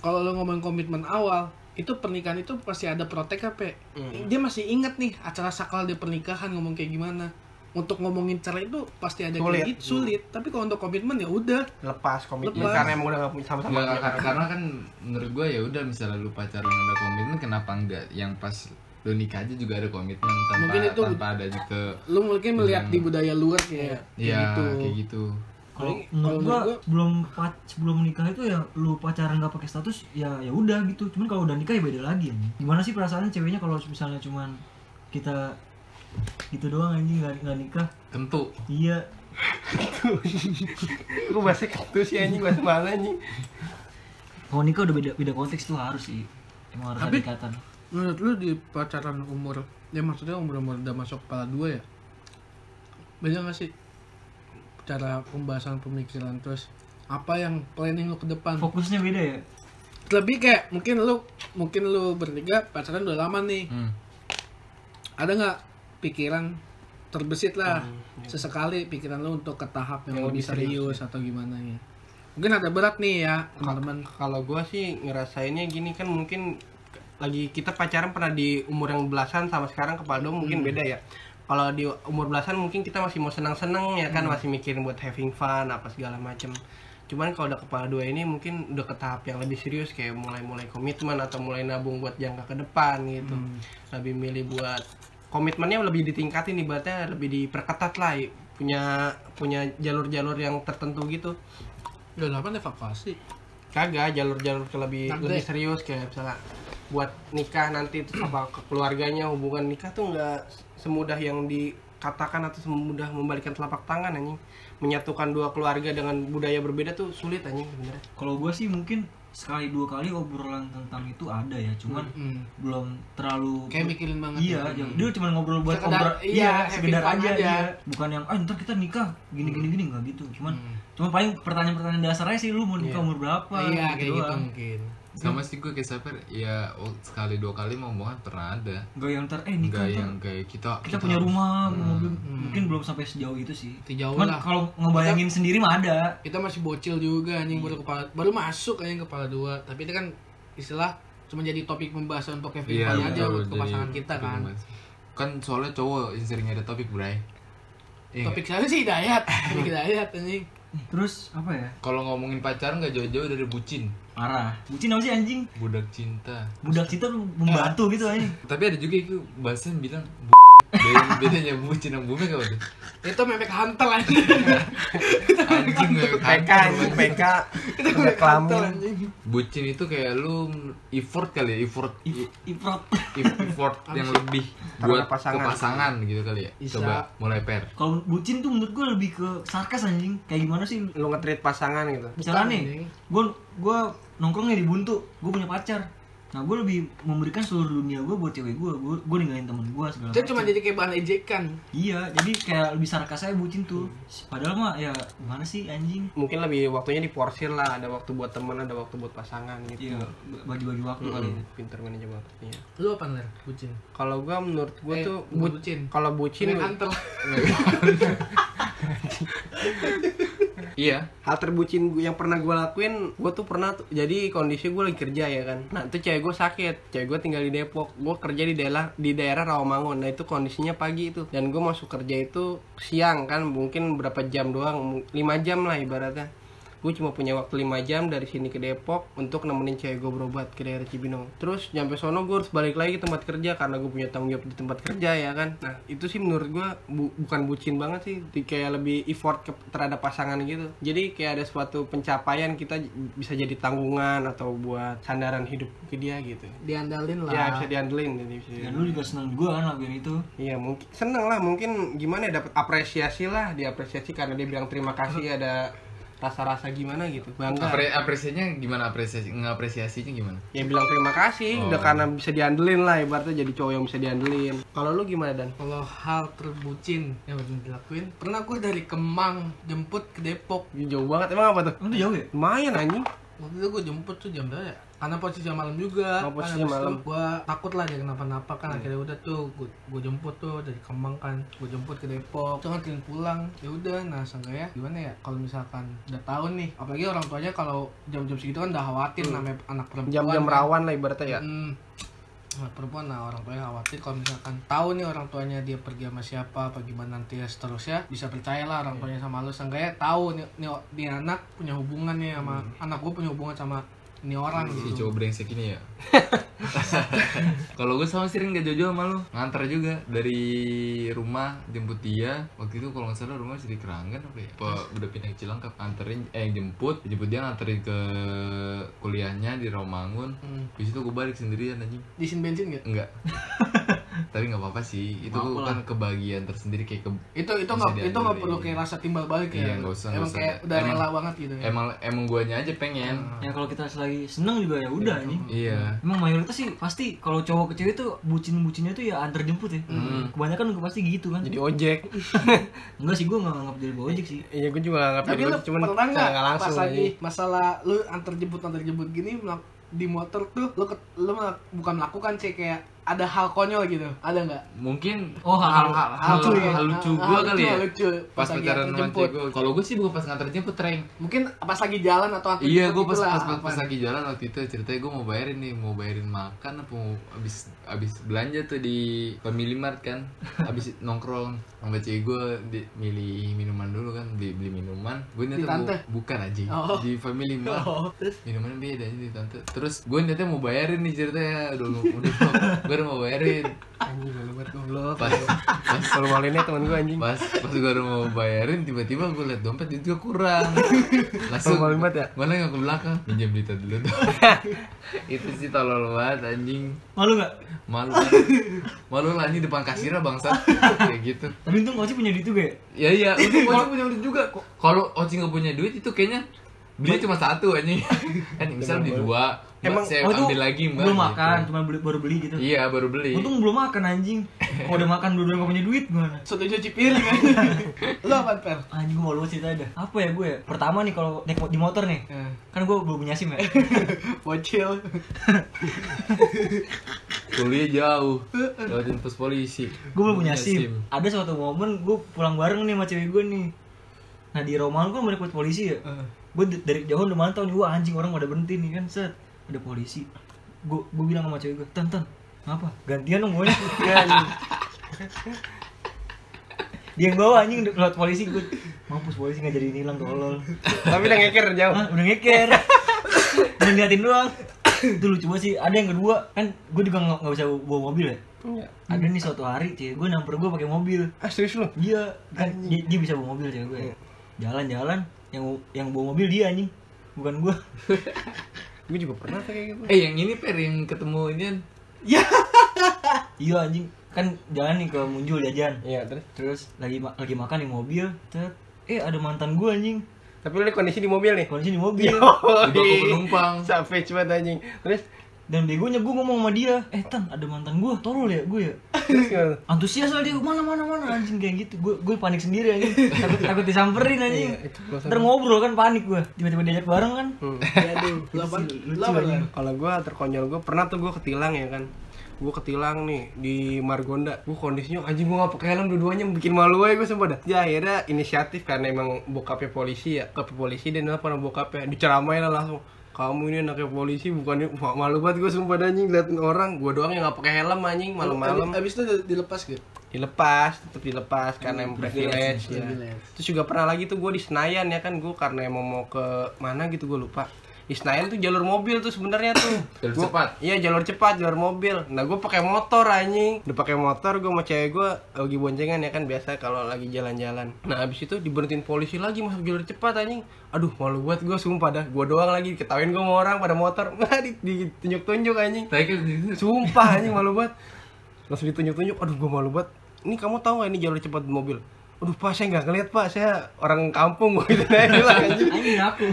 Speaker 3: kalau lo ngomong komitmen awal, itu pernikahan itu pasti ada protek Pe. ya? Dia masih inget nih acara sakral di pernikahan ngomong kayak gimana. Untuk ngomongin cerai itu pasti ada
Speaker 2: Sulit.
Speaker 3: kayak gitu, sulit. Tapi kalau untuk komitmen ya udah.
Speaker 2: lepas komitmen
Speaker 3: Lepas.
Speaker 2: karena emang udah nggak punya sama-sama
Speaker 4: Ya,
Speaker 2: punya
Speaker 4: kar-
Speaker 2: komitmen.
Speaker 4: karena kan menurut gua ya udah misalnya lu pacaran udah komitmen kenapa enggak yang pas lu nikah aja juga ada komitmen tanpa
Speaker 3: Mungkin itu-
Speaker 4: tanpa ada juga
Speaker 3: Lo mungkin melihat
Speaker 4: Yang-
Speaker 3: di budaya luar kayak
Speaker 4: ya
Speaker 3: kayak gitu.
Speaker 4: kayak gitu
Speaker 5: Kalau
Speaker 3: Kalau-
Speaker 5: menurut
Speaker 3: kalau
Speaker 5: gua,
Speaker 3: menurut
Speaker 5: belum pac sebelum nikah itu ya lu pacaran nggak pakai status ya ya udah gitu. Cuman kalau udah nikah ya beda lagi. anjing. Gimana sih perasaan ceweknya kalau misalnya cuman kita gitu doang anjing nggak nggak nikah?
Speaker 4: tentu
Speaker 5: Iya.
Speaker 2: gue bahasa itu sih anjing bahasa mana anjing
Speaker 5: Kalau nikah udah beda beda konteks tuh harus sih. Emang harus ada
Speaker 3: Tapi-
Speaker 5: ikatan.
Speaker 3: Menurut lu di pacaran umur, ya maksudnya umur-umur udah masuk kepala dua ya? Beda gak sih? Cara pembahasan pemikiran terus apa yang planning lo ke depan?
Speaker 5: Fokusnya beda ya.
Speaker 3: lebih kayak mungkin lu mungkin lu bertiga pacaran udah lama nih
Speaker 4: Hmm.
Speaker 3: ada nggak pikiran terbesit lah sesekali pikiran lu untuk ke tahap Hmm, ya. yang, lebih serius, atau gimana ya mungkin ada berat nih ya teman-teman
Speaker 2: kalau gue sih ngerasainnya gini kan mungkin lagi kita pacaran pernah di umur yang belasan sama sekarang kepala dong mungkin beda ya kalau di umur belasan mungkin kita masih mau senang-senang ya kan masih mikirin buat having fun apa segala macem cuman kalau udah kepala dua ini mungkin udah ke tahap yang lebih serius kayak mulai-mulai komitmen atau mulai nabung buat jangka ke depan gitu lebih milih buat komitmennya lebih ditingkatin ibaratnya lebih diperketat lah punya punya jalur-jalur yang tertentu gitu
Speaker 3: Udah delapan evakuasi.
Speaker 2: kagak jalur-jalur ke lebih
Speaker 3: Kagak.
Speaker 2: lebih serius kayak misalnya buat nikah nanti terus apa ke keluarganya hubungan nikah tuh nggak semudah yang dikatakan atau semudah membalikan telapak tangan anjing menyatukan dua keluarga dengan budaya berbeda tuh sulit anjing sebenarnya
Speaker 5: Kalau gue sih mungkin sekali dua kali obrolan tentang itu ada ya, cuman
Speaker 3: Hmm.
Speaker 5: belum terlalu
Speaker 3: Kayak mikirin banget.
Speaker 5: Iya,
Speaker 3: ya.
Speaker 5: yang dia cuma ngobrol buat
Speaker 3: Sekedar-
Speaker 5: ngobrol.
Speaker 3: iya, having
Speaker 5: sekedar
Speaker 3: fun
Speaker 5: aja,
Speaker 3: aja. Hmm.
Speaker 5: iya. Bukan yang ah ntar kita nikah gini gini gini nggak gitu. Cuman cuma paling pertanyaan-pertanyaan dasarnya sih lu mau nikah umur berapa?
Speaker 3: Iya, kayak gitu
Speaker 5: doang.
Speaker 3: mungkin.
Speaker 4: sama sih gue kayak Saper ya oh, sekali dua kali mau omongan pernah ada
Speaker 5: Gak yang ntar eh
Speaker 4: nggak
Speaker 5: nikah ntar
Speaker 4: yang kayak kita
Speaker 5: kita punya rumah,
Speaker 4: harus- Hmm.
Speaker 5: mobil, mungkin belum sampai sejauh itu sih.
Speaker 3: Itu jauh
Speaker 5: Cuman
Speaker 3: Hmm. lah.
Speaker 5: kalau ngebayangin sendiri mah ada.
Speaker 3: Kita masih bocil juga anjing baru kepala baru masuk anjing kepala dua. Tapi itu kan istilah cuma jadi topik pembahasan untuk Kevin
Speaker 4: iya
Speaker 3: aja
Speaker 4: betul,
Speaker 3: untuk
Speaker 4: jadi
Speaker 3: pasangan kita
Speaker 4: topik
Speaker 3: kan.
Speaker 4: pembahasan. kan soalnya cowok yang sering ada topik bray Iya nggak?
Speaker 3: Topik saya sih Hidayat. Topik Hidayat anjing.
Speaker 5: Terus apa ya?
Speaker 4: kalau ngomongin pacaran nggak jauh-jauh dari bucin
Speaker 5: Parah. Bucin apa sih anjing?
Speaker 4: budak cinta
Speaker 5: Budak cinta lu membantu gitu anjing.
Speaker 4: tapi ada juga itu bahasan bilang "Bu- Beda- bedanya bucin sama bumek apa tuh
Speaker 3: Itu memek hantel anjing.
Speaker 4: anjing memek
Speaker 2: PK anjing PK udah
Speaker 3: Hantel
Speaker 2: kelamin
Speaker 3: anjing.
Speaker 4: bucin itu kayak lu effort kali ya effort
Speaker 5: I- Iprot.
Speaker 4: effort yang lebih buat
Speaker 2: Karena
Speaker 4: ke
Speaker 2: pasangan.
Speaker 4: pasangan gitu kali ya
Speaker 3: Bisa.
Speaker 4: coba mulai per
Speaker 5: Kalau bucin tuh menurut gue lebih ke sarkas anjing. Kayak gimana sih?
Speaker 2: lu nge-treat pasangan gitu
Speaker 5: Misalnya nih,
Speaker 3: anjing.
Speaker 5: gue gue nongkrongnya di buntu, gue punya pacar. Nah gue lebih memberikan seluruh dunia gue buat cewek gue. Gue gue ninggalin temen gue segala
Speaker 3: Itu cuma
Speaker 5: macam.
Speaker 3: jadi kayak bahan ejekan.
Speaker 5: Iya, jadi kayak lebih sarkas aja bucin tuh. Padahal mah ya gimana sih anjing?
Speaker 2: mungkin lebih waktunya diporsir lah ada waktu buat teman ada waktu buat pasangan gitu
Speaker 5: Iya, bagi-bagi waktu kali. ya.
Speaker 2: Mm, pinter manajer waktunya
Speaker 3: Lu apa nih? Bucin.
Speaker 2: kalau gua menurut gua
Speaker 3: Eh,
Speaker 2: tuh
Speaker 3: bukan
Speaker 2: bu-
Speaker 3: bucin.
Speaker 2: kalau bucin
Speaker 3: Memek hantel.
Speaker 4: iya
Speaker 2: hal terbucin gua- yang pernah gue lakuin gue tuh pernah tuh- jadi kondisi gue lagi kerja ya kan nah itu cewek gue sakit cewek gue tinggal di Depok gue kerja di daerah di daerah Rawamangun nah itu kondisinya pagi itu dan gue masuk kerja itu siang kan mungkin berapa jam doang 5 jam lah ibaratnya gue cuma punya waktu 5 jam dari sini ke Depok untuk nemenin cewek gue berobat ke daerah Cibinong terus nyampe sono gue harus balik lagi ke tempat kerja karena gue punya tanggung jawab di tempat kerja ya kan nah itu sih menurut gue bu- bukan bucin banget sih Di- kayak lebih effort ke- terhadap pasangan gitu jadi kayak ada suatu pencapaian kita j- bisa jadi tanggungan atau buat sandaran hidup ke dia gitu
Speaker 3: Diandalin lah.
Speaker 2: ya bisa diandelin jadi bisa
Speaker 5: Dan lu juga seneng gue kan lakuin itu.
Speaker 2: Iya mungkin seneng lah mungkin gimana ya dapat apresiasi lah diapresiasi karena dia bilang terima kasih ada rasa-rasa gimana gitu bangga
Speaker 4: Apre apresiasinya gimana apresiasi ngapresiasinya gimana
Speaker 2: ya bilang terima kasih
Speaker 4: Oh.
Speaker 2: udah karena bisa diandelin lah ibaratnya jadi cowok yang bisa diandelin kalau lu gimana dan
Speaker 3: Kalau hal terbucin yang belum dilakuin, pernah gue dari Kemang jemput ke Depok.
Speaker 2: jauh banget emang apa tuh
Speaker 5: Emang tuh jauh ya?
Speaker 2: lumayan anjing
Speaker 3: Waktu itu gue jemput tuh jam berapa ya? Karena posisi jam malam juga.
Speaker 2: Oh, posisi malam. Hmm.
Speaker 3: Gue takut lah dia kenapa-napa kan akhirnya udah tuh gue, jemput tuh dari Kemang kan, gue jemput ke Depok. Tuh nganterin pulang. Ya udah, nah seenggaknya gimana ya? Kalau misalkan udah tahu nih, apalagi orang tuanya kalau jam-jam segitu kan udah khawatir namanya anak perempuan.
Speaker 2: Hmm. jam-jam
Speaker 3: kan.
Speaker 2: rawan lah ibaratnya ya
Speaker 3: Hmm. Nah, perempuan nah orang tuanya khawatir kalau misalkan tahu nih orang tuanya dia pergi sama siapa apa gimana nanti ya seterusnya bisa percayalah
Speaker 4: Iya.
Speaker 3: orang tuanya sama lu seenggaknya tahu nih, nih, nih anak punya hubungan nih sama anak gue punya hubungan sama ini orang
Speaker 4: Hmm. si
Speaker 3: gitu
Speaker 4: cowok brengsek ini ya kalau gue sama sering gak jauh-jauh sama lu nganter juga dari rumah jemput dia waktu itu kalau nggak salah rumah jadi keranggan apa ya apa udah pindah ke Cilangkap nganterin eh jemput jemput dia nganterin ke kuliahnya di Romangun
Speaker 3: Hmm.
Speaker 4: di situ gue balik sendirian anjing
Speaker 3: disin bensin gak?
Speaker 4: enggak tapi nggak apa-apa sih itu
Speaker 5: Apa-apa
Speaker 4: kan kebahagiaan tersendiri kayak ke
Speaker 3: itu itu
Speaker 4: Bisa
Speaker 3: nggak itu nggak
Speaker 4: diambil,
Speaker 3: perlu
Speaker 4: iya.
Speaker 3: kayak rasa timbal balik ya
Speaker 4: Iya, nggak usah,
Speaker 3: emang
Speaker 4: nggak usah.
Speaker 3: kayak udah
Speaker 4: Emang-
Speaker 3: rela banget gitu ya
Speaker 4: emang emang guanya aja pengen
Speaker 5: Ya kalau kita lagi seneng juga ya udah anjing.
Speaker 4: iya
Speaker 5: Emang mayoritas sih pasti kalau cowok ke cewek tuh bucin-bucinnya tuh ya antar jemput ya. Kebanyakan juga pasti gitu kan.
Speaker 2: jadi ojek
Speaker 5: Enggak sih gue nggak nganggap diri gue ojek sih.
Speaker 2: iya gue juga nggak
Speaker 3: tapi
Speaker 2: jadi
Speaker 3: lu
Speaker 2: ojek cuman
Speaker 3: pernah nggak
Speaker 2: nggak
Speaker 3: pas
Speaker 2: langsung
Speaker 3: lagi
Speaker 2: lagi
Speaker 3: masalah lu antar jemput antar jemput gini melak- di motor tuh lu, ke- lu melak- bukan melakukan sih kayak ada hal konyol gitu ada nggak
Speaker 4: mungkin
Speaker 6: Oh, hal-
Speaker 4: hal, hal,
Speaker 3: Lucu ya?
Speaker 4: hal lucu
Speaker 3: Hal-
Speaker 4: gue
Speaker 3: hal
Speaker 4: kali ya
Speaker 3: lucu, lucu.
Speaker 4: pas
Speaker 3: lagi
Speaker 4: pacaran
Speaker 3: antar
Speaker 4: sama
Speaker 3: jemput.
Speaker 4: cewek gue kalau gue sih bukan pas nganter jemput Reng
Speaker 3: mungkin pas lagi jalan atau antar
Speaker 4: iya
Speaker 3: jemput
Speaker 4: gue pas,
Speaker 3: gitulah,
Speaker 4: pas pas pas
Speaker 3: apaan.
Speaker 4: lagi jalan waktu itu ceritanya gue mau bayarin nih mau bayarin makan apa mau abis abis belanja tuh di family mart kan abis nongkrong sama cewek gue di, milih minuman dulu kan beli beli minuman gue
Speaker 3: Di
Speaker 4: niatnya
Speaker 3: tante?
Speaker 4: mau bukan aja
Speaker 3: Oh.
Speaker 4: di family mart
Speaker 3: Oh, terus
Speaker 4: minuman beda aja di tante terus gue niatnya mau bayarin nih ceritanya udah udah gue udah mau bayarin
Speaker 2: Anjing gue buat goblok.
Speaker 4: pas pas
Speaker 2: Kalau malinnya temen gue anjing.
Speaker 4: pas pas gue udah mau bayarin tiba-tiba gue liat dompet itu juga kurang langsung
Speaker 2: Normal banget ya?
Speaker 4: mana nggak ke belakang pinjam Dita dulu dong itu sih tolol banget anjing
Speaker 5: Malu nggak?
Speaker 4: malu banget. malu lah ini depan kasirnya bangsa kayak gitu
Speaker 5: Tapi untung Oci punya duit juga ya?
Speaker 4: ya iya itu Oci punya duit juga Ko- kalau Oci nggak punya duit itu kayaknya beli cuma satu anjing kan misal beli dua
Speaker 2: Emang
Speaker 4: Emang, saya
Speaker 5: Oh, itu
Speaker 4: ambil lagi mbak
Speaker 5: belum
Speaker 4: gitu.
Speaker 5: makan, cuma beli, baru beli gitu.
Speaker 4: iya baru beli
Speaker 5: Untung belum makan anjing. Kalau udah makan dua-dua nggak punya duit gimana?
Speaker 3: satu cuci piring kan lo apa per
Speaker 5: Anjing gue mau lu cerita ada. Apa ya gue? ya? Pertama nih kalau naik mo- di motor nih,
Speaker 3: Eh,
Speaker 5: kan gue belum punya sim ya.
Speaker 3: bocil
Speaker 4: kuliah jauh lewatin pos polisi
Speaker 5: gue belum punya sim. Ada suatu momen gue pulang bareng nih sama cewek gue nih. Nah di Romawi gue mau polisi ya. Gue d- dari jauh udah mantau nih, wah anjing orang pada berhenti nih kan set. Ada polisi. Gue gue bilang sama cewek gue, tan tan, ngapa? Gantian dong Iya, gue. Dia yang bawa anjing udah lewat polisi gue. Mampus polisi nggak jadi hilang tolol.
Speaker 2: Tapi udah ngeker jauh.
Speaker 5: Hah, udah ngeker udah ngeliatin doang itu lucu banget sih ada yang kedua kan gue juga nggak nggak bisa bawa mobil ya ada nih suatu hari cewek gue namper gue pakai mobil
Speaker 2: Ah serius lu?
Speaker 5: dia kan dia, dia bisa bawa mobil cewek gue ya. jalan-jalan yang yang bawa mobil dia anjing bukan gue
Speaker 2: Gue juga pernah tuh kayak gitu.
Speaker 4: eh yang ini per yang ketemu ini kan?
Speaker 5: iya anjing kan jalan nih ke muncul jajan
Speaker 2: Iya terus.
Speaker 5: terus lagi ma- lagi makan di mobil tet eh ada mantan gue anjing
Speaker 2: Tapi lu kondisi di mobil nih.
Speaker 5: kondisi di mobil
Speaker 4: Di bangku penumpang.
Speaker 2: Sampai cuma anjing. Terus
Speaker 5: dan begonya gue ngomong sama dia eh tan ada mantan gue tolol ya gue ya
Speaker 2: terus gimana?
Speaker 5: antusias lah dia mana mana mana anjing kayak gitu gue gue panik sendiri anjing takut takut disamperin anjing
Speaker 2: Iya, itu gua sama.
Speaker 5: ntar ngobrol kan panik gue tiba-tiba diajak bareng kan
Speaker 2: Hmm.
Speaker 3: aduh lo apa lo apa Per?
Speaker 2: Kalau gua terkonyol gua pernah tuh gua ketilang ya kan gue ketilang nih di Margonda gue kondisinya anjing gue gak pakai helm dua-duanya bikin malu aja gue sumpah dah ya akhirnya inisiatif karena emang bokapnya polisi ya ke polisi dan apa nama bokapnya diceramain lah langsung kamu ini anaknya polisi bukan Wah, malu banget gue sumpah dah, anjing liatin orang gue doang yang gak pakai helm anjing malam-malam
Speaker 3: Abis- abis itu di- dilepas gitu
Speaker 2: dilepas tetap dilepas karena emang privilege ya.
Speaker 3: privilege.
Speaker 2: terus juga pernah lagi tuh gue di Senayan ya kan gue karena emang mau ke mana gitu gue lupa di Senayan tuh jalur mobil tuh sebenarnya tuh
Speaker 4: Jalur
Speaker 2: Gua-
Speaker 4: cepat.
Speaker 2: iya jalur cepat jalur mobil nah gue pakai motor anjing udah pakai motor gue sama cewek gue lagi boncengan ya kan biasa kalau lagi jalan-jalan nah abis itu diberhentiin polisi lagi masuk jalur cepat anjing aduh malu buat gue sumpah dah gue doang lagi ketawain gue sama orang pada motor Di- ditunjuk-tunjuk anjing
Speaker 4: Tapi kan di situ
Speaker 2: Sumpah anjing malu banget. Langsung ditunjuk-tunjuk, aduh gue malu banget. Ini kamu tahu gak ini jalur cepat mobil? Aduh pak, saya nggak ngeliat pak, saya orang kampung gue gitu Nah, bilang, anjing.
Speaker 5: anjing aku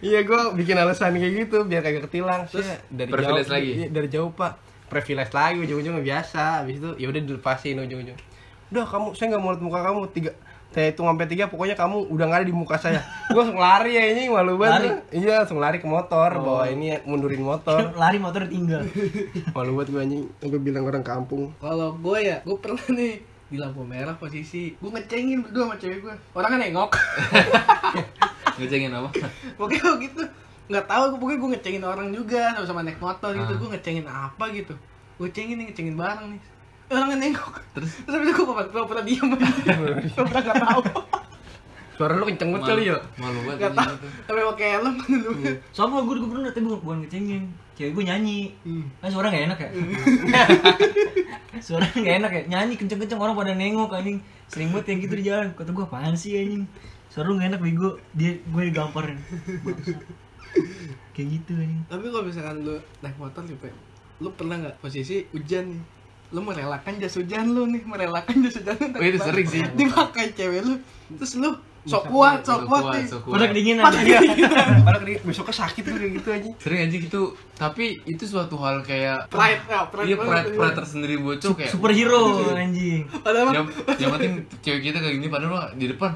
Speaker 2: Iya gue bikin alasan kayak gitu biar kagak ketilang. Terus dari
Speaker 4: privilege
Speaker 2: jauh,
Speaker 4: lagi?
Speaker 2: iya, dari jauh pak, privilege lagi ujung-ujungnya biasa. Abis itu ya udah dilepasin ujung-ujung. Udah kamu, saya nggak mau liat muka kamu tiga. Saya hitung sampai tiga, pokoknya kamu udah nggak ada di muka saya. gue langsung lari ya ini malu banget. Iya langsung lari ke motor, bawa ini mundurin motor.
Speaker 5: lari motor tinggal
Speaker 2: malu banget gue anjing, gue bilang orang kampung.
Speaker 3: kalau gue ya gue pernah nih di lampu merah posisi gue ngecengin berdua sama cewek gue orangnya nengok
Speaker 4: ngecengin apa?
Speaker 3: pokoknya waktu gitu nggak tahu gue pokoknya gue ngecengin orang juga sama sama naik motor gitu
Speaker 4: Ah.
Speaker 3: gue ngecengin apa gitu gue cengin nih ngecengin barang nih Eh, orangnya nengok terus terus habis itu gue pura pura diem
Speaker 4: Iya,
Speaker 3: aja pura nggak tahu
Speaker 2: Suara lu kenceng banget kali
Speaker 5: iya.
Speaker 2: ya.
Speaker 4: Malu banget
Speaker 3: nggak
Speaker 4: anjing
Speaker 3: tahu
Speaker 4: itu.
Speaker 3: tapi pakai helm dulu
Speaker 5: sama gue gue pernah tapi bukan bukan ngecengin cewek gue nyanyi kan suara gak enak ya suara gak enak ya nyanyi kenceng-kenceng orang pada nengok anjing sering banget yang gitu di jalan kata gue apaan sih anjing suara lu gak enak bego dia gue digamparin Bangsat. kayak gitu anjing
Speaker 3: tapi kalau misalkan lu naik motor gitu ya, lu pernah nggak posisi hujan nih lu merelakan jas hujan lu nih merelakan jas hujan lu
Speaker 4: Oh, itu
Speaker 3: Tapi-
Speaker 4: sering sih.
Speaker 3: dipakai cewek lu terus lu sok kuat sok
Speaker 4: Sok
Speaker 3: kuat nih
Speaker 4: sok kuat.
Speaker 5: pada kedinginan
Speaker 3: Iya.
Speaker 2: Padahal kedi- besoknya sakit tuh kayak gitu aja.
Speaker 4: Sering anjing itu, tapi itu suatu hal kayak
Speaker 3: pride ya pride
Speaker 4: Iya,
Speaker 3: banget.
Speaker 4: pride, pride Iya, tersendiri bocok kayak
Speaker 3: Iya,
Speaker 5: superhero anjing
Speaker 3: padahal
Speaker 4: yang, yang penting cewek kita kayak gini padahal mah di depan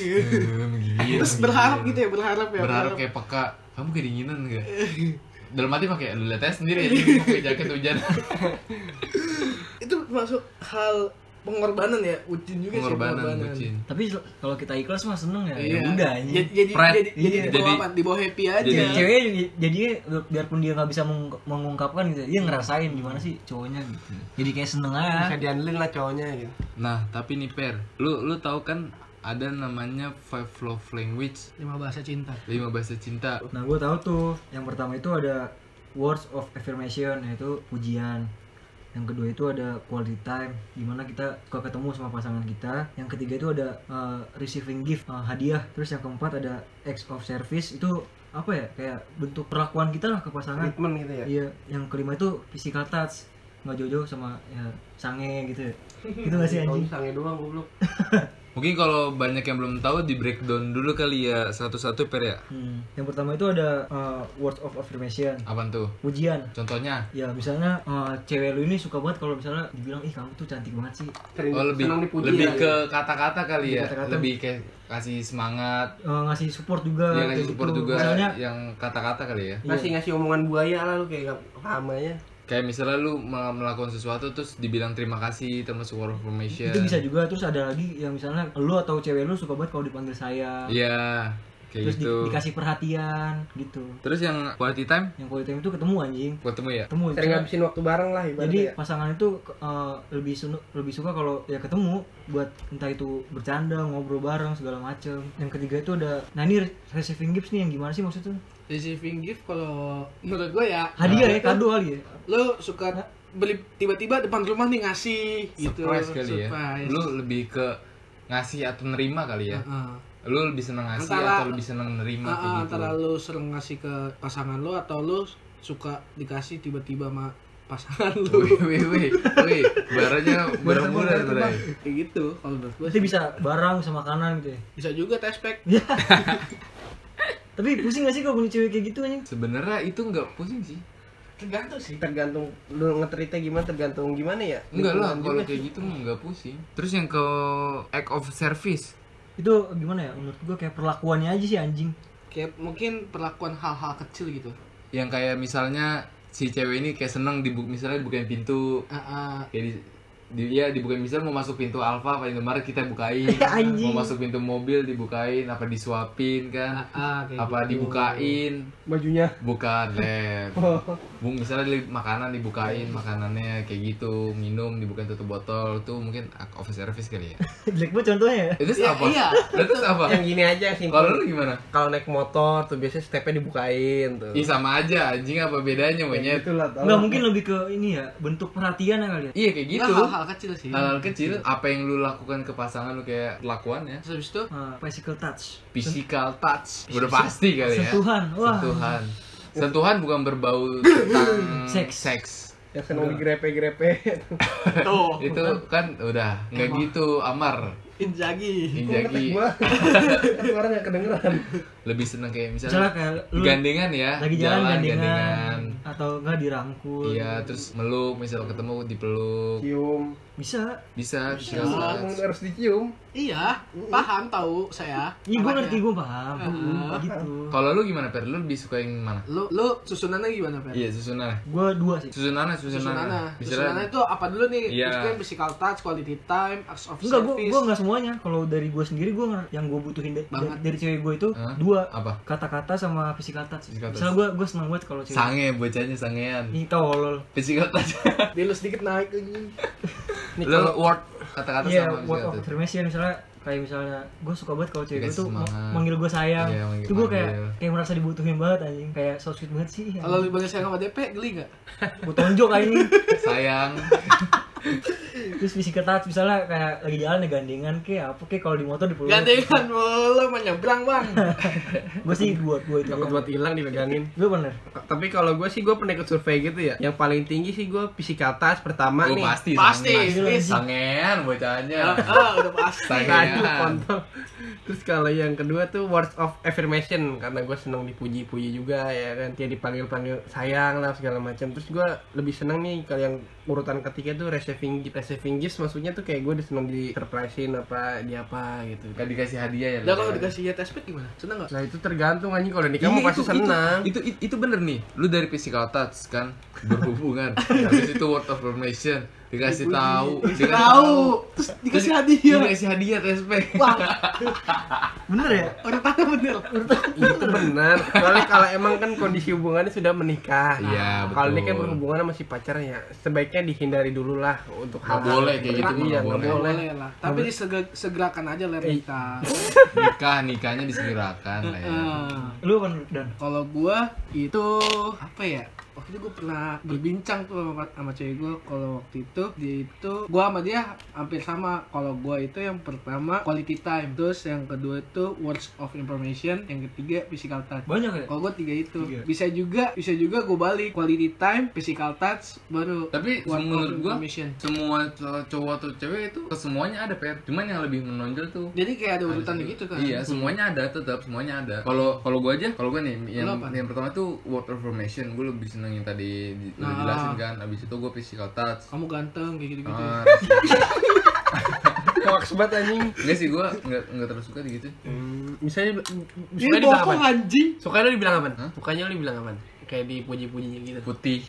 Speaker 3: Iya. terus berharap gitu ya berharap ya
Speaker 4: iya,
Speaker 3: Iya.
Speaker 4: Berharap kayak peka Kamu kedinginan gak? Dalam hati pakai lu lihat aja sendiri ya, pakai jaket hujan
Speaker 3: masuk hal pengorbanan ya bucin juga sih
Speaker 4: pengorbanan bucin
Speaker 5: tapi se- kalau kita ikhlas mah seneng ya
Speaker 3: Iya.
Speaker 5: ya udah anjing.
Speaker 3: Jadi jadi
Speaker 4: Pride. Iya.
Speaker 3: jadi, jadi,
Speaker 4: Jadi-
Speaker 3: di bawah apa? di bawah happy aja.
Speaker 5: Jadi ceweknya juga jadinya bi- biarpun dia nggak bisa meng- mengungkapkan gitu dia ngerasain gimana sih cowoknya gitu jadi kayak seneng
Speaker 2: bisa
Speaker 5: aja
Speaker 2: diandelin lah cowoknya gitu
Speaker 4: nah tapi nih per lu lu tahu kan ada namanya five love language
Speaker 3: lima bahasa cinta.
Speaker 4: lima bahasa cinta
Speaker 5: nah gue tahu tuh yang pertama itu ada words of affirmation yaitu pujian yang kedua itu ada quality time gimana kita suka ketemu sama pasangan kita yang ketiga itu ada uh, receiving gift uh, hadiah terus yang keempat ada acts of service itu apa ya kayak bentuk perlakuan kita lah ke pasangan
Speaker 2: komitmen gitu ya
Speaker 5: Iya, yang kelima itu physical touch nggak jauh-jauh sama ya, sange gitu ya. gitu gak sih
Speaker 2: Kalau
Speaker 5: anjing
Speaker 2: sange doang goblok
Speaker 4: mungkin kalau banyak yang belum tahu di breakdown dulu kali ya satu-satu per ya
Speaker 5: Hmm. yang pertama itu ada uh, words of affirmation
Speaker 4: apa tuh
Speaker 5: pujian
Speaker 4: contohnya
Speaker 5: ya misalnya uh, cewek lu ini suka banget kalau misalnya dibilang ih kamu tuh cantik banget sih
Speaker 2: sering
Speaker 4: Oh lebih
Speaker 2: senang dipuji
Speaker 4: lebih
Speaker 2: ya,
Speaker 4: ke kata-kata kali ya,
Speaker 5: kata-kata.
Speaker 4: lebih kayak kasih semangat,
Speaker 5: Uh, ngasih support juga
Speaker 4: yang
Speaker 5: kayak
Speaker 4: kasih Iya, support
Speaker 5: gitu.
Speaker 4: juga,
Speaker 5: misalnya
Speaker 4: yang kata-kata kali ya.
Speaker 2: ngasih ngasih omongan buaya lah lu kayak gak paham aja
Speaker 4: Kayak misalnya lu mel- melakukan sesuatu terus dibilang terima kasih termasuk word of affirmation.
Speaker 5: itu bisa juga terus ada lagi yang misalnya lu atau cewek lu suka banget kalau dipanggil saya
Speaker 4: Iya, kayak
Speaker 5: terus di-
Speaker 4: gitu.
Speaker 5: dikasih perhatian gitu
Speaker 4: Terus yang quality time
Speaker 5: yang quality time itu ketemu anjing
Speaker 4: ketemu ya.
Speaker 5: ketemu
Speaker 2: sering
Speaker 5: Misalnya-
Speaker 2: ngabisin waktu bareng lah
Speaker 5: Jadi
Speaker 2: ibaratnya ya.
Speaker 5: pasangan itu eh, lebih sunu, lebih suka kalau ya ketemu buat entah itu bercanda, ngobrol bareng segala macem. Yang ketiga itu ada nah ini receiving gifts nih yang gimana sih maksudnya?
Speaker 3: Receiving gift kalau menurut gue ya
Speaker 5: Hadiah ya, kado kali ya.
Speaker 3: lo suka beli tiba-tiba depan rumah nih ngasih gitu.
Speaker 4: Surprise kali ya.
Speaker 3: Surprise.
Speaker 4: Lu lebih ke ngasih atau nerima kali ya.
Speaker 3: Heeh.
Speaker 4: Lu lebih seneng ngasih
Speaker 3: Antara-
Speaker 4: atau lebih seneng nerima
Speaker 3: Ah,
Speaker 4: kayak
Speaker 3: ah,
Speaker 4: gitu.
Speaker 3: antara lu sering ngasih ke pasangan lu atau lu suka dikasih tiba-tiba sama pasangan lu
Speaker 4: Wih, wih, wih, wih, barangnya murah-murah bray.
Speaker 3: kayak gitu kalau menurut gue
Speaker 5: Berarti bisa barang sama makanan gitu ya. Iya.
Speaker 3: bisa juga tespek
Speaker 5: Tapi pusing gak sih kalau punya cewek kayak gitu anjing?
Speaker 4: Sebenarnya itu nggak pusing sih.
Speaker 3: tergantung sih
Speaker 2: tergantung lu ngetrite gimana tergantung gimana ya
Speaker 4: Enggak lah,
Speaker 2: Lingkungan
Speaker 4: kalau
Speaker 2: juga.
Speaker 4: kayak gitu mah enggak pusing. Terus yang ke act of service.
Speaker 5: Itu gimana ya? Menurut gua kayak perlakuannya aja sih anjing.
Speaker 3: kayak mungkin perlakuan hal-hal kecil gitu
Speaker 4: Yang kayak misalnya si cewek ini kayak seneng dibu misalnya dibukain pintu.
Speaker 3: Ah, ah.
Speaker 4: Kayak di, di- iya, dibukain misalnya mau masuk pintu Alfa apa Indomaret kita bukain.
Speaker 5: Anjing.
Speaker 4: Mau masuk pintu mobil dibukain, apa disuapin
Speaker 3: Ah,
Speaker 4: kan?
Speaker 3: ah, kayak
Speaker 4: Apa
Speaker 3: gitu.
Speaker 4: dibukain?
Speaker 2: bajunya
Speaker 4: Bukan, Lep.
Speaker 3: Oh.
Speaker 4: Bung misalnya li- makanan dibukain, makanannya kayak gitu, minum dibukain tutup botol, tuh mungkin act of service kali ya.
Speaker 5: Jelek banget contohnya ya.
Speaker 4: Itu
Speaker 3: Iya,
Speaker 4: apa?
Speaker 3: iya.
Speaker 4: Itu apa?
Speaker 2: yang gini aja
Speaker 5: iya.
Speaker 2: sih
Speaker 4: Kalau lu gimana?
Speaker 2: kalau naik motor tuh biasanya stepnya dibukain tuh
Speaker 4: Ih sama aja anjing apa
Speaker 5: Iya,
Speaker 4: bedanya
Speaker 2: Ya,
Speaker 5: gitu.
Speaker 4: monyet?
Speaker 2: gitulah tau.
Speaker 5: Enggak mungkin lebih ke ini ya, bentuk perhatian ya kali ya.
Speaker 4: Iya kayak
Speaker 3: Nggak,
Speaker 4: gitu.
Speaker 3: hal-hal kecil sih
Speaker 4: Hal-hal kecil apa yang lu lakukan ke pasangan lu kayak lakuannya
Speaker 3: terus habis itu
Speaker 5: Ah, physical touch.
Speaker 4: physical touch udah pasti kali ya.
Speaker 5: Sentuhan. Wah.
Speaker 4: Sentuhan. Sentuhan bukan berbau tentang
Speaker 5: Seks.
Speaker 4: seks.
Speaker 2: yang seneng digrepe-grepe
Speaker 5: Oh,
Speaker 3: tuh
Speaker 4: Itu kan udah nggak gitu Amar
Speaker 3: injagi
Speaker 5: kan
Speaker 4: Injaki
Speaker 2: gua suara nggak kedengeran
Speaker 4: lebih seneng kayak
Speaker 5: Misalnya
Speaker 4: misalnya
Speaker 5: kayak lu
Speaker 4: gandengan ya
Speaker 5: lagi jalan, gandengan,
Speaker 4: gandengan.
Speaker 5: atau enggak dirangkul.
Speaker 4: Iya terus meluk misal ketemu dipeluk
Speaker 2: cium
Speaker 5: Bisa.
Speaker 4: bisa physical
Speaker 2: Emang
Speaker 4: touch.
Speaker 2: harus dicium
Speaker 3: iya paham tahu saya
Speaker 5: Iya gue
Speaker 3: Makanya.
Speaker 4: ya?
Speaker 5: ngerti gue paham gitu.
Speaker 4: Kalau lu gimana Per? Lu lebih suka yang mana?
Speaker 3: lu lu susunannya gimana Fer?
Speaker 4: Iya susunan.
Speaker 5: Gue dua sih.
Speaker 3: susunannya
Speaker 4: Susunannya, susunannya.
Speaker 3: susunannya
Speaker 4: Misalnya
Speaker 3: itu apa dulu nih
Speaker 4: Iya.
Speaker 3: maksudnya physical touch quality time acts of
Speaker 5: Enggak gue
Speaker 3: service
Speaker 5: gue nggak semuanya. Kalau dari gue sendiri gue yang gue butuhin da-
Speaker 3: Banget.
Speaker 5: dari, dari cewek gue itu
Speaker 4: Hah?
Speaker 5: dua
Speaker 4: apa?
Speaker 5: kata-kata sama physical touch.
Speaker 4: Physical touch.
Speaker 5: Misalnya gue gue seneng banget kalau cewek
Speaker 4: Sange, bocahnya sangean.
Speaker 5: ini tolol.
Speaker 4: Physical touch.
Speaker 2: dia lu sedikit naik lagi
Speaker 4: Lu word kata-kata
Speaker 5: Iya
Speaker 4: sama
Speaker 5: word of
Speaker 4: physical touch.
Speaker 5: affirmation misalnya kayak misalnya gue suka banget kalau cewek gue
Speaker 4: Dikasih
Speaker 5: tuh ma-
Speaker 4: semangat.
Speaker 5: manggil gue sayang.
Speaker 4: Iya, manggil-
Speaker 5: itu gue kayak
Speaker 4: manggil.
Speaker 5: kayak merasa dibutuhin banget anjing. Kayak so sweet banget sih.
Speaker 3: kalau lu dipanggil sayang sama DP geli nggak
Speaker 5: Gue tonjok anjing.
Speaker 4: Sayang.
Speaker 5: Terus physical touch misalnya kayak lagi jalan ya gandengan kayak apa kayak kalau di motor di
Speaker 3: gandengan mulu menyebrang bang
Speaker 5: Gue sih dua dua itu.
Speaker 2: takut buat hilang dipegangin
Speaker 5: Gue bener.
Speaker 2: tapi kalau gue sih gue pernah ikut survei gitu ya yang paling tinggi sih gue physical touch pertama
Speaker 4: Lu Oh,
Speaker 2: nih
Speaker 4: pasti.
Speaker 3: pasti
Speaker 4: sange.
Speaker 3: Is.
Speaker 4: Sangean bocahnya.
Speaker 3: Ah, ah, udah pasti
Speaker 2: Aduh,
Speaker 4: Sangean.
Speaker 2: kontol. Terus kalau yang kedua tuh words of affirmation karena gue seneng dipuji-puji juga ya kan dia dipanggil-panggil sayang lah segala macam. Terus gue lebih seneng nih kalau yang urutan ketiga tuh receiving gift. Receiving gifts maksudnya tuh kayak gue seneng di surprisein apa di apa gitu.
Speaker 4: Gak dikasih hadiah ya.
Speaker 3: udah kalau
Speaker 4: Bang.
Speaker 3: dikasih ya tespek gimana seneng nggak
Speaker 2: Nah itu tergantung anjing kalau nikah
Speaker 4: Iya,
Speaker 2: mau pasti
Speaker 4: itu-
Speaker 2: senang.
Speaker 4: Itu, itu, itu bener nih. Lu dari physical touch kan. berhubungan habis itu word of affirmation dikasih tahu dikasih
Speaker 3: Tahu, terus dikasih hadiah.
Speaker 4: dikasih hadiah respect
Speaker 3: Wah,
Speaker 5: bener ya
Speaker 3: udah tahu bener.
Speaker 2: Iya, itu benar soalnya kalau emang kan kondisi hubungannya sudah menikah
Speaker 4: Iya,
Speaker 2: kalau ini
Speaker 4: betul.
Speaker 2: kan berhubungan masih pacar ya sebaiknya dihindari dulu lah untuk
Speaker 4: Nggak
Speaker 2: hal-hal
Speaker 4: boleh
Speaker 2: yang
Speaker 4: kayak gitu,
Speaker 2: berat.
Speaker 4: mah,
Speaker 2: Iya,
Speaker 4: nggak
Speaker 2: nggak
Speaker 4: boleh.
Speaker 2: boleh
Speaker 3: Boleh lah, tapi disegerakan aja
Speaker 4: Iya.
Speaker 3: ler kita.
Speaker 4: nikah nikahnya disegerakan lah ya
Speaker 3: Eh,
Speaker 5: lu kan dan
Speaker 3: Kalau gua itu apa ya? Waktu itu gua pernah berbincang tuh sama, sama cewek gua kalau waktu itu dia itu gua sama dia hampir sama. Kalau gua itu yang pertama quality time, terus yang kedua itu words of information, yang ketiga physical touch.
Speaker 5: banyak ya
Speaker 3: Kalau gua tiga itu.
Speaker 5: Tiga.
Speaker 3: Bisa juga bisa juga gua balik quality time, physical touch baru
Speaker 4: tapi
Speaker 3: words of
Speaker 4: menurut gua
Speaker 3: information.
Speaker 4: semua cow- cowok atau cewek itu semuanya ada per cuman yang lebih menonjol tuh
Speaker 3: Jadi kayak ada urutan
Speaker 4: Ada sih.
Speaker 3: gitu kan.
Speaker 4: Iya, semuanya ada tetap, semuanya ada. Kalau kalau gua aja, kalau gua nih yang
Speaker 3: Lu apa?
Speaker 4: yang pertama tuh word of affirmation, gua lebih seneng yang tadi di- lu
Speaker 3: Nah.
Speaker 4: jelasin kan. Abis itu gua physical touch.
Speaker 3: Kamu ganteng kayak gitu-gitu. ya.
Speaker 4: Ah,
Speaker 2: hoax banget anjing
Speaker 4: Enggak sih gua enggak enggak terlalu suka gitu.
Speaker 2: misalnya
Speaker 3: Ini
Speaker 2: misalnya dibilang
Speaker 3: bohong
Speaker 2: apa
Speaker 3: anjing.
Speaker 2: Sukanya lu dibilang apa?
Speaker 4: Hah?
Speaker 2: Sukanya lu dibilang apa? Kayak dipuji-pujinya gitu.
Speaker 4: Putih.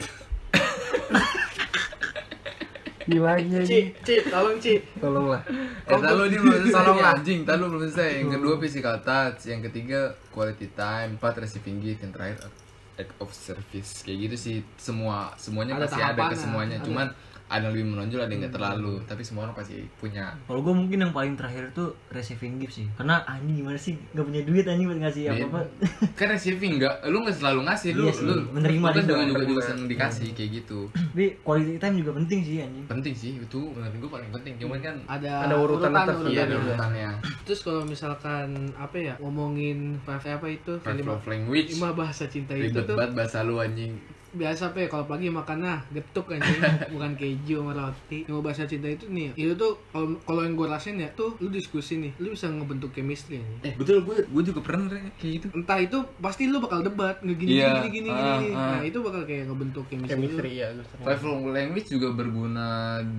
Speaker 2: Gilanya
Speaker 3: Ci, Ci, tolong Ci.
Speaker 2: Tolonglah.
Speaker 4: Eh, tahu lu ini belum selesai
Speaker 2: Tolong
Speaker 4: nih,
Speaker 2: lah.
Speaker 4: anjing, tahu lu belum selesai. Yang kedua physical touch, yang ketiga quality time, empat receiving gift, yang terakhir act of service. Kayak gitu sih semua semuanya
Speaker 3: Ada
Speaker 4: pasti ada Hmm. ke
Speaker 3: tahapannya,
Speaker 4: semuanya.
Speaker 3: ada.
Speaker 4: Cuman ada yang lebih menonjol, ada yang enggak terlalu, tapi semua orang pasti punya.
Speaker 5: kalau gue mungkin yang paling terakhir tuh receiving gift sih karena anjing gimana sih gak punya duit anjing buat
Speaker 4: Iya,
Speaker 5: ngasih apa apa
Speaker 4: kan receiving enggak lu enggak selalu ngasih lu
Speaker 5: Iya sih,
Speaker 4: lu
Speaker 5: menerima
Speaker 4: lu kan
Speaker 5: juga.
Speaker 4: juga juga juga seneng dikasih kayak gitu
Speaker 5: tapi quality time juga penting sih anjing
Speaker 4: penting sih itu menurut gue paling penting cuman kan
Speaker 3: Ada, gitu.
Speaker 2: Ada urutan atas.
Speaker 4: iya
Speaker 2: Iya,
Speaker 4: ada urutannya
Speaker 3: Terus kalau misalkan apa ya ngomongin five apa itu kayak
Speaker 4: five
Speaker 3: lima,
Speaker 4: love language
Speaker 3: lima bahasa cinta itu
Speaker 4: ribet
Speaker 3: tuh
Speaker 4: banget bahasa lu anjing
Speaker 3: biasa apa ya kalau pagi makannya getuk kan bukan keju sama roti lima bahasa cinta itu nih itu tuh kalau- kalau yang gue rasain ya tuh lu diskusi nih lu bisa ngebentuk chemistry anjing.
Speaker 4: eh betul gue gue juga pernah Re, kayak gitu
Speaker 3: entah itu pasti lu bakal debat ngegini
Speaker 4: Iya,
Speaker 3: gini gini gini,
Speaker 4: ah,
Speaker 3: gini.
Speaker 4: ah.
Speaker 3: nah itu bakal kayak ngebentuk chemistry,
Speaker 2: Chemistry ya.
Speaker 4: Five love language juga berguna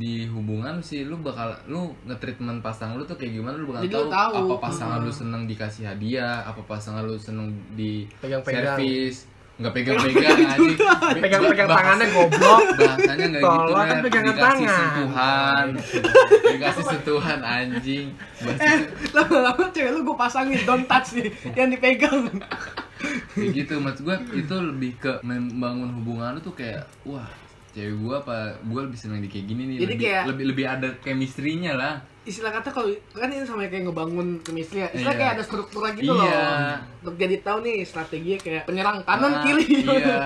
Speaker 4: di hubungan sih lu bakal lu nge-treatment pasangan lu tuh kayak gimana lu bakal
Speaker 3: Jadi lu
Speaker 4: tahu,
Speaker 3: tahu.
Speaker 4: apa pasangan
Speaker 3: Heeh.
Speaker 4: lu seneng dikasih hadiah apa pasangan lu seneng di
Speaker 2: Pegang-pegang.
Speaker 4: servis nggak pegang-pegang anjing
Speaker 2: Pegang-pegang
Speaker 4: Bahasa-
Speaker 2: tangannya goblok.
Speaker 4: bahasanya nggak gitu
Speaker 2: Tolong, kan
Speaker 4: Ren.
Speaker 2: pegangan
Speaker 4: dikasih
Speaker 2: tangan.
Speaker 4: sentuhan dikasih sentuhan anjing bahasa
Speaker 3: lama-lama cewek lu gue pasangin don't touch nih yang dipegang
Speaker 4: kayak gitu maksud gue itu lebih ke membangun hubungan lu tuh kayak wah cewek gue apa gue lebih seneng di kayak gini nih
Speaker 3: Jadi
Speaker 4: lebih,
Speaker 3: kayak-
Speaker 4: lebih lebih ada chemistry-nya lah
Speaker 3: istilah kata kalau kan ini sama kayak ngebangun chemistry ya istilah
Speaker 4: Iya.
Speaker 3: kayak ada strukturnya gitu
Speaker 4: Iya.
Speaker 3: loh untuk jadi tahu nih strateginya kayak penyerang kanan
Speaker 4: Ah,
Speaker 3: kiri
Speaker 4: iya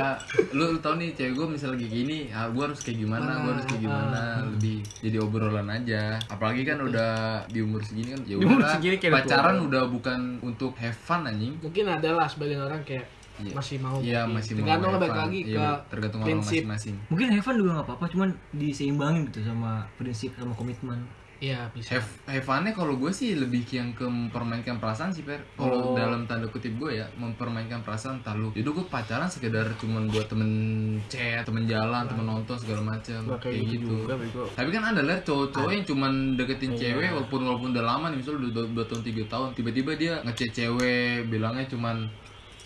Speaker 4: lu, lu tau nih cewek gue misal lagi gini ah, gue harus kayak gimana gue harus
Speaker 3: Ah,
Speaker 4: kayak gimana lebih jadi obrolan aja apalagi kan udah di umur segini kan ya
Speaker 2: Di umur
Speaker 4: udah
Speaker 2: segini kayak udah
Speaker 4: pacaran
Speaker 2: tua.
Speaker 4: udah bukan untuk have fun anjing
Speaker 3: mungkin adalah sebagian orang kayak
Speaker 4: Iya.
Speaker 3: masih mau
Speaker 4: Iya
Speaker 3: tapi
Speaker 4: masih
Speaker 3: tergantung
Speaker 4: mau
Speaker 3: lah balik
Speaker 4: have fun.
Speaker 3: lagi
Speaker 4: Iya,
Speaker 3: ke
Speaker 4: tergantung orang
Speaker 3: prinsip
Speaker 4: masing-masing.
Speaker 5: mungkin Heaven juga nggak apa-apa cuman diseimbangin gitu sama prinsip sama komitmen
Speaker 3: iya bisa
Speaker 4: Have, have fun-nya kalau gue sih lebih ke yang ke mempermainkan perasaan sih per. Kalau dalam tanda kutip gue ya mempermainkan perasaan entah lu. Jadi gue pacaran sekedar cuman buat temen chat, temen jalan, temen nonton segala macam
Speaker 2: Nggak kayak gitu juga, bego.
Speaker 4: Tapi kan ada lah cowok-cowok yang cuman deketin cewek walaupun walaupun udah lama nih misalnya udah dua- dua tahun tiga tahun tiba-tiba dia ngechat cewek bilangnya cuman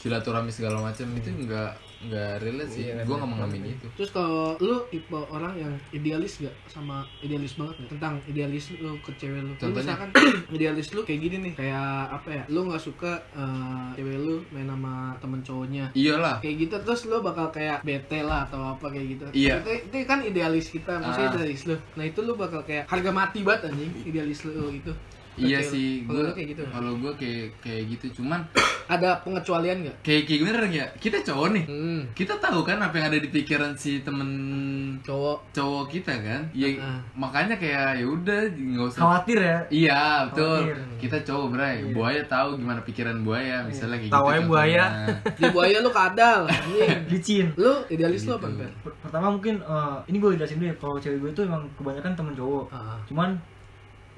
Speaker 4: silaturahmi segala macam itu nggak nggak relate sih. gue nggak mengamini itu.
Speaker 3: terus kalau lu tipe orang yang idealis gak sama idealis banget gak? tentang idealis lu ke cewek lu Lu
Speaker 4: Contohnya?
Speaker 3: misalkan idealis lu kayak gini nih kayak apa ya lu nggak suka eh, cewek lu main sama temen cowoknya
Speaker 4: Iyalah.
Speaker 3: kayak gitu terus lo bakal kayak bete lah atau apa kayak gitu
Speaker 4: Iya.
Speaker 3: itu, itu kan idealis kita maksudnya
Speaker 4: Ah.
Speaker 3: idealis lo nah itu lo bakal kayak harga mati banget anjing idealis lo gitu
Speaker 4: Iya
Speaker 3: Kayak
Speaker 4: sih,
Speaker 3: kalau
Speaker 4: gue
Speaker 3: lo kayak gitu
Speaker 4: kalau gue kayak kayak gitu cuman
Speaker 3: ada pengecualian nggak
Speaker 4: kayak kayak gimana Reng, ya kita cowok nih
Speaker 3: hmm,
Speaker 4: kita tahu kan apa yang ada di pikiran si temen
Speaker 3: cowok
Speaker 4: cowok kita kan ya
Speaker 3: Heeh.
Speaker 4: makanya kayak ya udah nggak usah
Speaker 5: khawatir ya
Speaker 4: Iya betul
Speaker 5: Khawatir.
Speaker 4: kita cowok bray buaya tahu gimana pikiran buaya misalnya kayak
Speaker 2: Tawanya
Speaker 4: gitu
Speaker 2: buaya.
Speaker 4: contohnya.
Speaker 3: di Iya. buaya lo kadal anjing
Speaker 5: licin
Speaker 3: lo idealis lo apa
Speaker 4: Gitu.
Speaker 3: Ben?
Speaker 5: Per- pertama mungkin eh, ini gue jelasin dulu ya kalau cewek gue tuh emang kebanyakan temen cowok
Speaker 3: Ah.
Speaker 5: cuman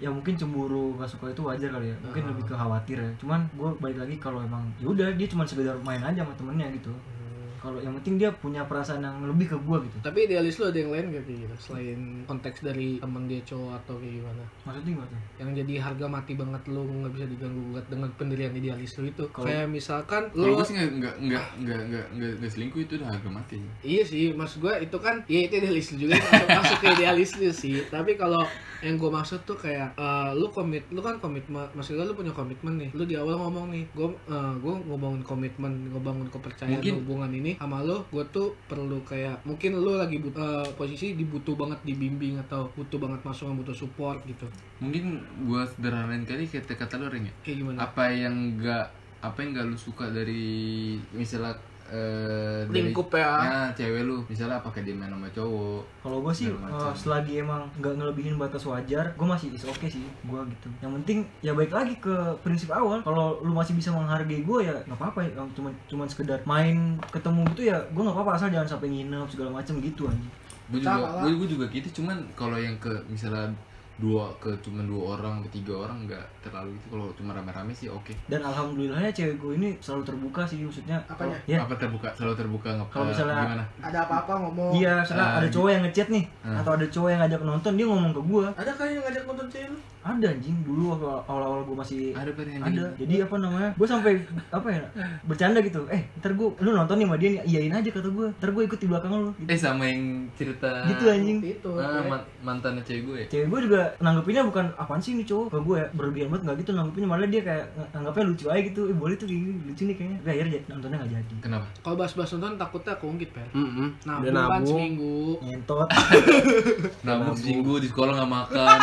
Speaker 5: ya mungkin cemburu gak suka itu wajar kali ya mungkin
Speaker 3: Ah.
Speaker 5: lebih ke khawatir ya cuman gue balik lagi kalau emang ya udah dia cuma sekedar main aja sama temennya gitu kalau yang penting dia punya perasaan yang lebih ke gua gitu
Speaker 3: Tapi idealis lu ada yang lain gak kayak gitu? Selain konteks dari temen dia cowok atau kayak gimana?
Speaker 5: maksudnya gimana tuh?
Speaker 3: Yang jadi harga mati banget lu nggak bisa diganggu gugat dengan pendirian idealis lu itu. Kayak misalkan
Speaker 4: Kalau
Speaker 3: lu
Speaker 4: gue sih nggak nggak nggak nggak nggak nggak nggak selingkuh itu udah harga mati.
Speaker 3: Iya sih, maksud gue itu kan, iya itu idealis lu juga masuk, masuk ke idealis lu sih. Tapi kalau yang gue maksud tuh kayak eh, lu komit, lu kan komitmen, maksud gue lu punya komitmen nih. Lu di awal ngomong nih, gue gue ngebangun komitmen, ngebangun kepercayaan
Speaker 4: Mungkin-
Speaker 3: hubungan ini sama lu. Gue tuh perlu kayak mungkin lu lagi but, eh, posisi dibutuh banget dibimbing atau butuh banget masukan, butuh support gitu.
Speaker 4: Mungkin gue sederhanain kali kata kata lu Ren, ya.
Speaker 3: Kayak gimana?
Speaker 4: Apa yang nggak apa yang nggak lu suka dari misalnya eh dari
Speaker 3: Lingkup ya.
Speaker 4: Nah, cewek lu misalnya apakah dia main sama cowok
Speaker 5: Kalau gue sih
Speaker 4: Segala
Speaker 5: eh,
Speaker 4: macam.
Speaker 5: selagi emang nggak ngelebihin batas wajar, gue masih is oke sih gue gitu. Yang penting ya baik lagi ke prinsip awal. Kalau lu masih bisa menghargai gue ya nggak apa-apa ya. Cuman cuman sekedar main ketemu gitu ya gue nggak apa-apa asal jangan sampai nginep segala macam gitu anjing.
Speaker 4: gue
Speaker 3: Salah
Speaker 4: juga
Speaker 3: lah.
Speaker 4: gue gue juga gitu cuman kalau yang ke misalnya dua ke cuman dua orang ke tiga orang nggak terlalu itu kalau cuma rame-rame sih oke
Speaker 5: Dan alhamdulillahnya cewek gue ini selalu terbuka sih maksudnya.
Speaker 3: Apanya?
Speaker 5: Ya.
Speaker 4: apa terbuka selalu terbuka nggak
Speaker 5: Kalau
Speaker 4: eh,
Speaker 5: misalnya-
Speaker 4: gimana
Speaker 3: Ada apa-apa ngomong.
Speaker 5: Iya, misalnya
Speaker 4: Ah,
Speaker 5: ada
Speaker 4: gitu.
Speaker 5: cowok yang ngechat nih
Speaker 4: Ah.
Speaker 5: atau ada cowok yang ngajak nonton dia ngomong ke gue.
Speaker 3: Ada kali yang ngajak nonton cewek lu?
Speaker 5: Ada anjing dulu waktu awal-awal gue masih
Speaker 4: ada apa yang gitu.
Speaker 5: ada jadi apa namanya gue sampai apa ya bercanda gitu eh ntar gue lu nonton nih sama dia nih iyain aja kata gue ntar gue ikut di belakang lu
Speaker 4: eh sama yang cerita
Speaker 5: gitu anjing
Speaker 3: Itu.
Speaker 4: ah,
Speaker 3: kayak-
Speaker 4: man- mantan cewek gue ya?
Speaker 5: cewek gue juga nanggepinnya bukan apaan sih ini cowok ke gue ya berlebihan banget nggak gitu nanggepinnya malah dia kayak ng- anggapnya lucu aja gitu eh boleh tuh kayak gini lucu nih kayaknya Tapi akhirnya j- nontonnya nggak jadi
Speaker 4: kenapa
Speaker 3: Kalau bahas-bahas nonton takutnya keungkit, Per.
Speaker 2: Mm-mm.
Speaker 3: Nah,
Speaker 2: Udah
Speaker 3: bulan
Speaker 2: nabung,
Speaker 3: seminggu.
Speaker 5: ngentot
Speaker 4: nabung seminggu di sekolah nggak makan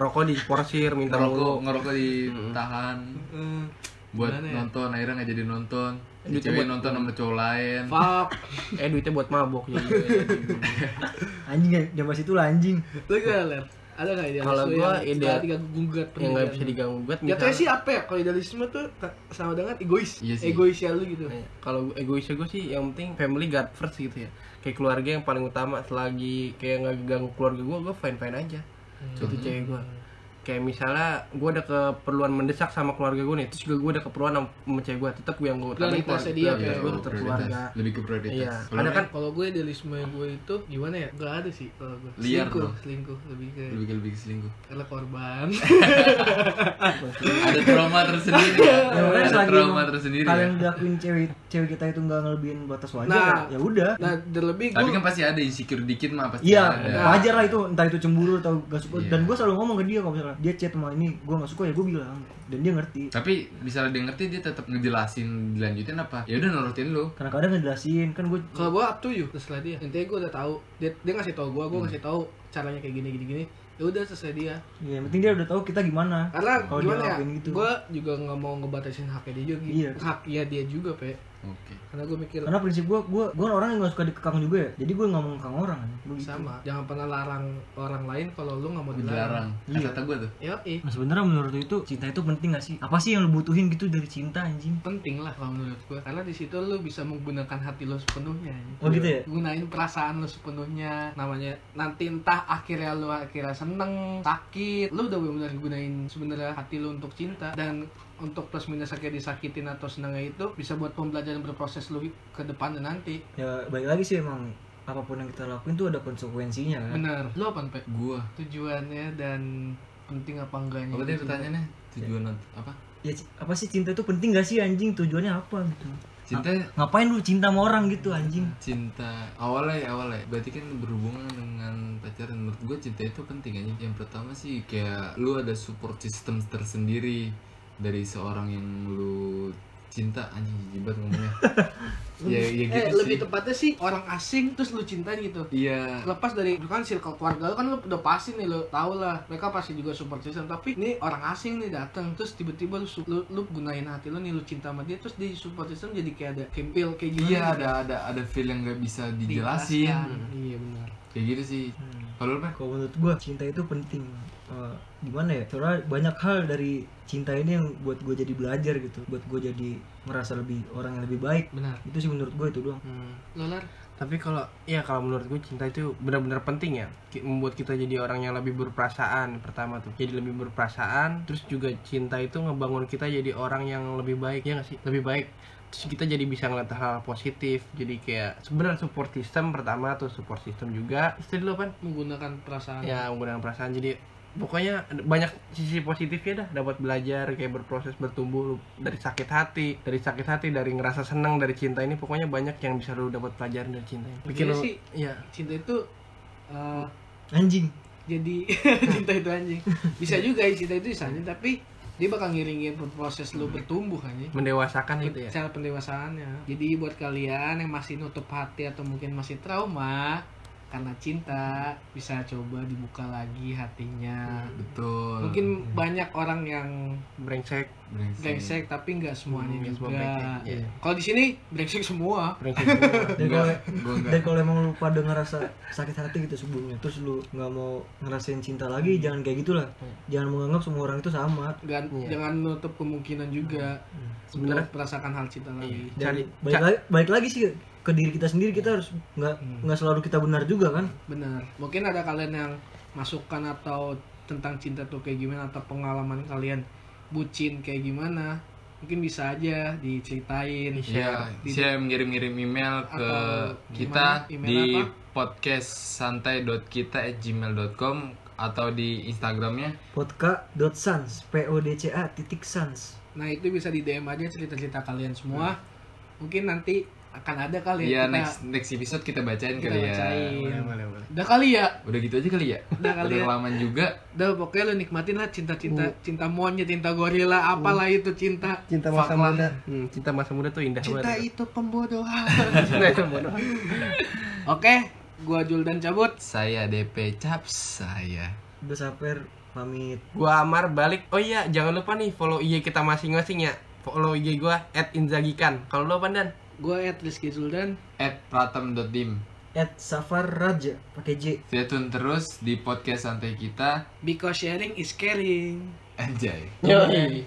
Speaker 2: rokok diporsir, minta
Speaker 4: ngerokok
Speaker 2: mulu.
Speaker 4: ngerokok ditahan
Speaker 3: Eh,
Speaker 4: buat
Speaker 3: Gimana ya?
Speaker 4: nonton akhirnya nggak jadi nonton Si
Speaker 2: Duitnya
Speaker 4: cewek
Speaker 2: buat-
Speaker 4: nonton sama cowok lain
Speaker 3: Fuck. iya,
Speaker 2: Eh duitnya buat mabok gitu. jadi.
Speaker 5: anjing ya jam itu lah anjing
Speaker 3: Lu gimana, Ler? Ada gak idealisme
Speaker 2: Kalau gua
Speaker 3: yang
Speaker 2: ide-
Speaker 3: suka diganggu gugat
Speaker 2: yang nggak bisa diganggu gugat.
Speaker 3: Jatuhnya
Speaker 2: misalnya-
Speaker 3: sih apa Iya. ya? Kalau idealisme tuh ke- sama dengan egois.
Speaker 4: Iya sih.
Speaker 3: Egois ya lu gitu.
Speaker 2: Iya. kalau egoisnya gue sih yang penting family God first gitu ya kayak keluarga yang paling utama selagi kayak nggak ganggu keluarga gue gue fine fine aja itu
Speaker 3: Hmm.
Speaker 2: cewek gue kayak misalnya gue ada keperluan mendesak sama keluarga gue nih terus juga gue ada keperluan sama- sama cewek gue tetap gue yang gue utamain
Speaker 3: Prioritasnya
Speaker 2: keluarga.
Speaker 3: dia, ya.
Speaker 2: Prioritas gue
Speaker 4: oh,
Speaker 2: tetap
Speaker 4: prioritas.
Speaker 2: keluarga
Speaker 4: lebih ke prioritas
Speaker 2: Iya.
Speaker 4: Kalau
Speaker 2: Ada
Speaker 4: lu
Speaker 2: kan-
Speaker 3: Kalau gue idealisme gue itu gimana ya? Gak ada sih kalau gue.
Speaker 4: Liar
Speaker 3: selingkuh,
Speaker 4: dong.
Speaker 3: selingkuh lebih ke
Speaker 4: lebih ke lebih ke selingkuh
Speaker 3: karena korban.
Speaker 4: ada trauma tersendiri ya
Speaker 5: ya makanya
Speaker 4: ada
Speaker 5: selagi
Speaker 4: traoma
Speaker 5: emang
Speaker 4: tersendiri ya
Speaker 5: kalian ngelakuin cewek cewek kita itu nggak ngelebihin batas wajar
Speaker 3: Nah.
Speaker 5: ya ya udah
Speaker 3: nah, terlebih
Speaker 4: tapi
Speaker 3: gue
Speaker 4: kan pasti ada insecure dikit mah pasti
Speaker 5: Iya,
Speaker 4: ada
Speaker 5: wajar lah itu entah itu cemburu atau gak suka.
Speaker 4: Nah, Iya.
Speaker 5: Dan gue selalu ngomong ke dia kalau misalnya dia chat sama ini, gue gak suka ya gue bilang. Dan dia ngerti.
Speaker 4: tapi misalnya dia ngerti dia tetap ngejelasin dilanjutin apa ya udah nurutin lu
Speaker 5: Karena kadang ngejelasin kan gue
Speaker 3: kalau gue up to you terserah dia. Intinya gue udah tahu dia dia ngasih tahu gue, gue
Speaker 2: Hmm.
Speaker 3: ngasih tahu caranya kayak gini gini gini. Ya udah terserah dia.
Speaker 5: ya, yang penting dia udah tahu kita gimana.
Speaker 3: karena
Speaker 5: Kalau
Speaker 3: gimana
Speaker 5: dia
Speaker 3: ya
Speaker 5: ngelakuin gitu.
Speaker 3: gue juga nggak mau ngebatasin haknya dia juga
Speaker 5: Iya.
Speaker 3: haknya dia juga pe
Speaker 4: oke
Speaker 3: karena gue mikir
Speaker 5: Karena prinsip gue, gue gue kan orang yang gak suka dikekang juga ya. Jadi gue gak mau ngekang orang. Gue gitu.
Speaker 3: sama jangan pernah larang orang lain kalau lu nggak mau dilarang
Speaker 4: dilarang
Speaker 5: Iya.
Speaker 4: kata gue tuh
Speaker 3: ya eh
Speaker 5: Nah, sebenarnya menurut lu itu cinta itu penting gak sih? Apa sih yang lu butuhin gitu dari cinta anjing?
Speaker 3: penting lah kalau menurut gue karena di situ lu bisa menggunakan hati lu sepenuhnya
Speaker 5: Oh gitu ya?
Speaker 3: gunain perasaan lu sepenuhnya namanya nanti entah akhirnya lu akhirnya seneng sakit lu udah benar-benar gunain sebenarnya hati lu untuk cinta dan untuk plus minus sakit disakitin atau senengnya itu bisa buat pembelajaran berproses lu ke depan dan nanti
Speaker 5: Ya baik lagi sih emang apapun yang kita lakuin tuh ada konsekuensinya kan.
Speaker 3: bener lu apa pe
Speaker 4: gue
Speaker 3: tujuannya dan penting apa enggaknya gitu.
Speaker 4: apa tadi
Speaker 5: Iya.
Speaker 4: pertanyaannya tujuan nont- apa
Speaker 5: Ya c- apa sih cinta itu penting gak sih anjing? Tujuannya apa gitu?
Speaker 4: cinta
Speaker 5: Ngapain lu cinta sama orang gitu anjing?
Speaker 4: cinta awalnya ya awalnya berarti kan berhubungan dengan pacaran menurut gue cinta itu penting aja yang pertama sih kayak lu ada support system tersendiri dari seorang yang lu cinta anjing jijik banget ngomongnya ya ya
Speaker 3: eh
Speaker 4: gitu
Speaker 3: lebih
Speaker 4: sih
Speaker 3: tepatnya sih orang asing terus lu cintain gitu
Speaker 4: iya
Speaker 3: lepas dari kan circle keluarga lu kan lu udah pasti nih lu tau lah mereka pasti juga support system tapi ini orang asing nih datang terus tiba-tiba lu, su- lu lu gunain hati lu nih lu cinta sama dia terus di support system jadi kayak ada kempil kayak gimana
Speaker 4: iya
Speaker 3: gitu.
Speaker 4: ada ada ada feel yang nggak bisa dijelasin
Speaker 3: iya benar
Speaker 4: kayak gitu sih
Speaker 5: Hmm.
Speaker 4: kalau lu Pak?
Speaker 5: Kalau menurut gue cinta itu penting. Eh, gimana ya? Soalnya banyak hal dari cinta ini yang buat gue jadi belajar gitu, buat gue jadi merasa lebih orang yang lebih baik.
Speaker 3: benar
Speaker 5: Itu sih menurut gue itu doang.
Speaker 2: Hmm.
Speaker 3: Lu, Lar?
Speaker 2: tapi kalau ya kalau menurut gue cinta itu benar-benar penting ya Ki- membuat kita jadi orang yang lebih berperasaan pertama tuh jadi lebih berperasaan terus juga cinta itu ngebangun kita jadi orang yang lebih baik ya nggak sih lebih baik Terus kita jadi bisa ngeliat hal positif jadi kayak sebenarnya support system pertama tuh support system juga itu dulu apa
Speaker 3: menggunakan perasaan
Speaker 2: ya menggunakan perasaan jadi pokoknya ada- banyak sisi positifnya dah dapat belajar kayak berproses bertumbuh lu dari sakit hati dari sakit hati dari ngerasa senang dari cinta ini pokoknya banyak yang bisa lu dapat pelajaran dari cinta ini
Speaker 3: Bikin
Speaker 2: bikin lu
Speaker 3: sih
Speaker 2: iya
Speaker 3: cinta itu eh,
Speaker 5: anjing
Speaker 3: jadi cinta itu anjing bisa juga ya, cinta itu bisa anjing tapi dia bakal ngiringin proses lu bertumbuh anjing
Speaker 2: mendewasakan gitu ya
Speaker 3: Nah, cara pendewasaannya jadi buat kalian yang masih nutup hati atau mungkin masih trauma karena cinta bisa coba dibuka lagi hatinya
Speaker 2: Hmm.
Speaker 4: betul
Speaker 3: mungkin banyak orang yang
Speaker 2: brengsek
Speaker 4: Brengsek.
Speaker 3: brengsek tapi nggak semuanya
Speaker 2: Hmm, nggak
Speaker 3: juga
Speaker 2: semua brengsek, iya.
Speaker 3: kalau di sini brengsek semua
Speaker 2: brengsek semua.
Speaker 5: dan
Speaker 4: Enggak,
Speaker 5: kalau
Speaker 4: gua enggak.
Speaker 5: dan kalau emang lu pada ngerasa sakit hati gitu sebelumnya terus lu nggak mau ngerasain cinta lagi jangan kayak gitulah
Speaker 4: Hmm.
Speaker 5: jangan menganggap semua orang itu sama
Speaker 3: Gan-
Speaker 2: Iya. Hmm.
Speaker 3: jangan nutup kemungkinan juga
Speaker 2: Sebenarnya- Iya.
Speaker 3: untuk merasakan hal cinta lagi
Speaker 5: dan
Speaker 2: cari
Speaker 5: baik
Speaker 2: ca- Hmm.
Speaker 5: lagi baik lagi sih ke diri kita sendiri kita harus nggak nggak selalu kita benar juga kan
Speaker 3: benar mungkin ada kalian yang masukan atau tentang cinta tuh kayak gimana atau pengalaman kalian bucin kayak gimana mungkin bisa aja diceritain
Speaker 4: Iya,
Speaker 3: Di-
Speaker 4: saya ngirim-ngirim email ke
Speaker 3: Atau
Speaker 4: kita
Speaker 3: gimana? Email
Speaker 4: di
Speaker 3: apa?
Speaker 4: podcast santai.kita@gmail.com atau di Instagramnya
Speaker 5: podca.sans p o d c a titik sans
Speaker 3: nah itu bisa di DM aja cerita-cerita kalian semua
Speaker 2: Hmm.
Speaker 3: mungkin nanti akan ada kali ya
Speaker 4: Iya
Speaker 3: kita
Speaker 4: next next episode kita bacain
Speaker 3: kita
Speaker 4: kali ya.
Speaker 3: bacain
Speaker 2: boleh boleh boleh
Speaker 3: udah kali ya
Speaker 4: Udah gitu aja kali ya.
Speaker 3: Udah kali ya.
Speaker 4: kelamaan juga.
Speaker 3: udah pokoknya lu nikmatin lah cinta-cinta cinta monyet cinta gorila apalah itu cinta
Speaker 2: cinta masa muda Hmm, cinta masa muda tuh indah
Speaker 3: cinta
Speaker 2: banget Nah,
Speaker 3: itu pembodohan
Speaker 2: cinta itu bodoh
Speaker 3: oke gua Juldan cabut
Speaker 4: Saya DP Caps saya.
Speaker 5: udah saper pamit
Speaker 2: gua Amar balik oh iya jangan lupa nih follow IG kita masing-masing ya follow IG gua at inzagikan kalau lu apa dan
Speaker 3: gua at Rizky Juldan
Speaker 4: At pratam.dim.
Speaker 5: at safar raja pakai j
Speaker 4: Stay tune terus di podcast santai kita.
Speaker 3: because sharing is caring
Speaker 4: Anjay.
Speaker 2: Yoi.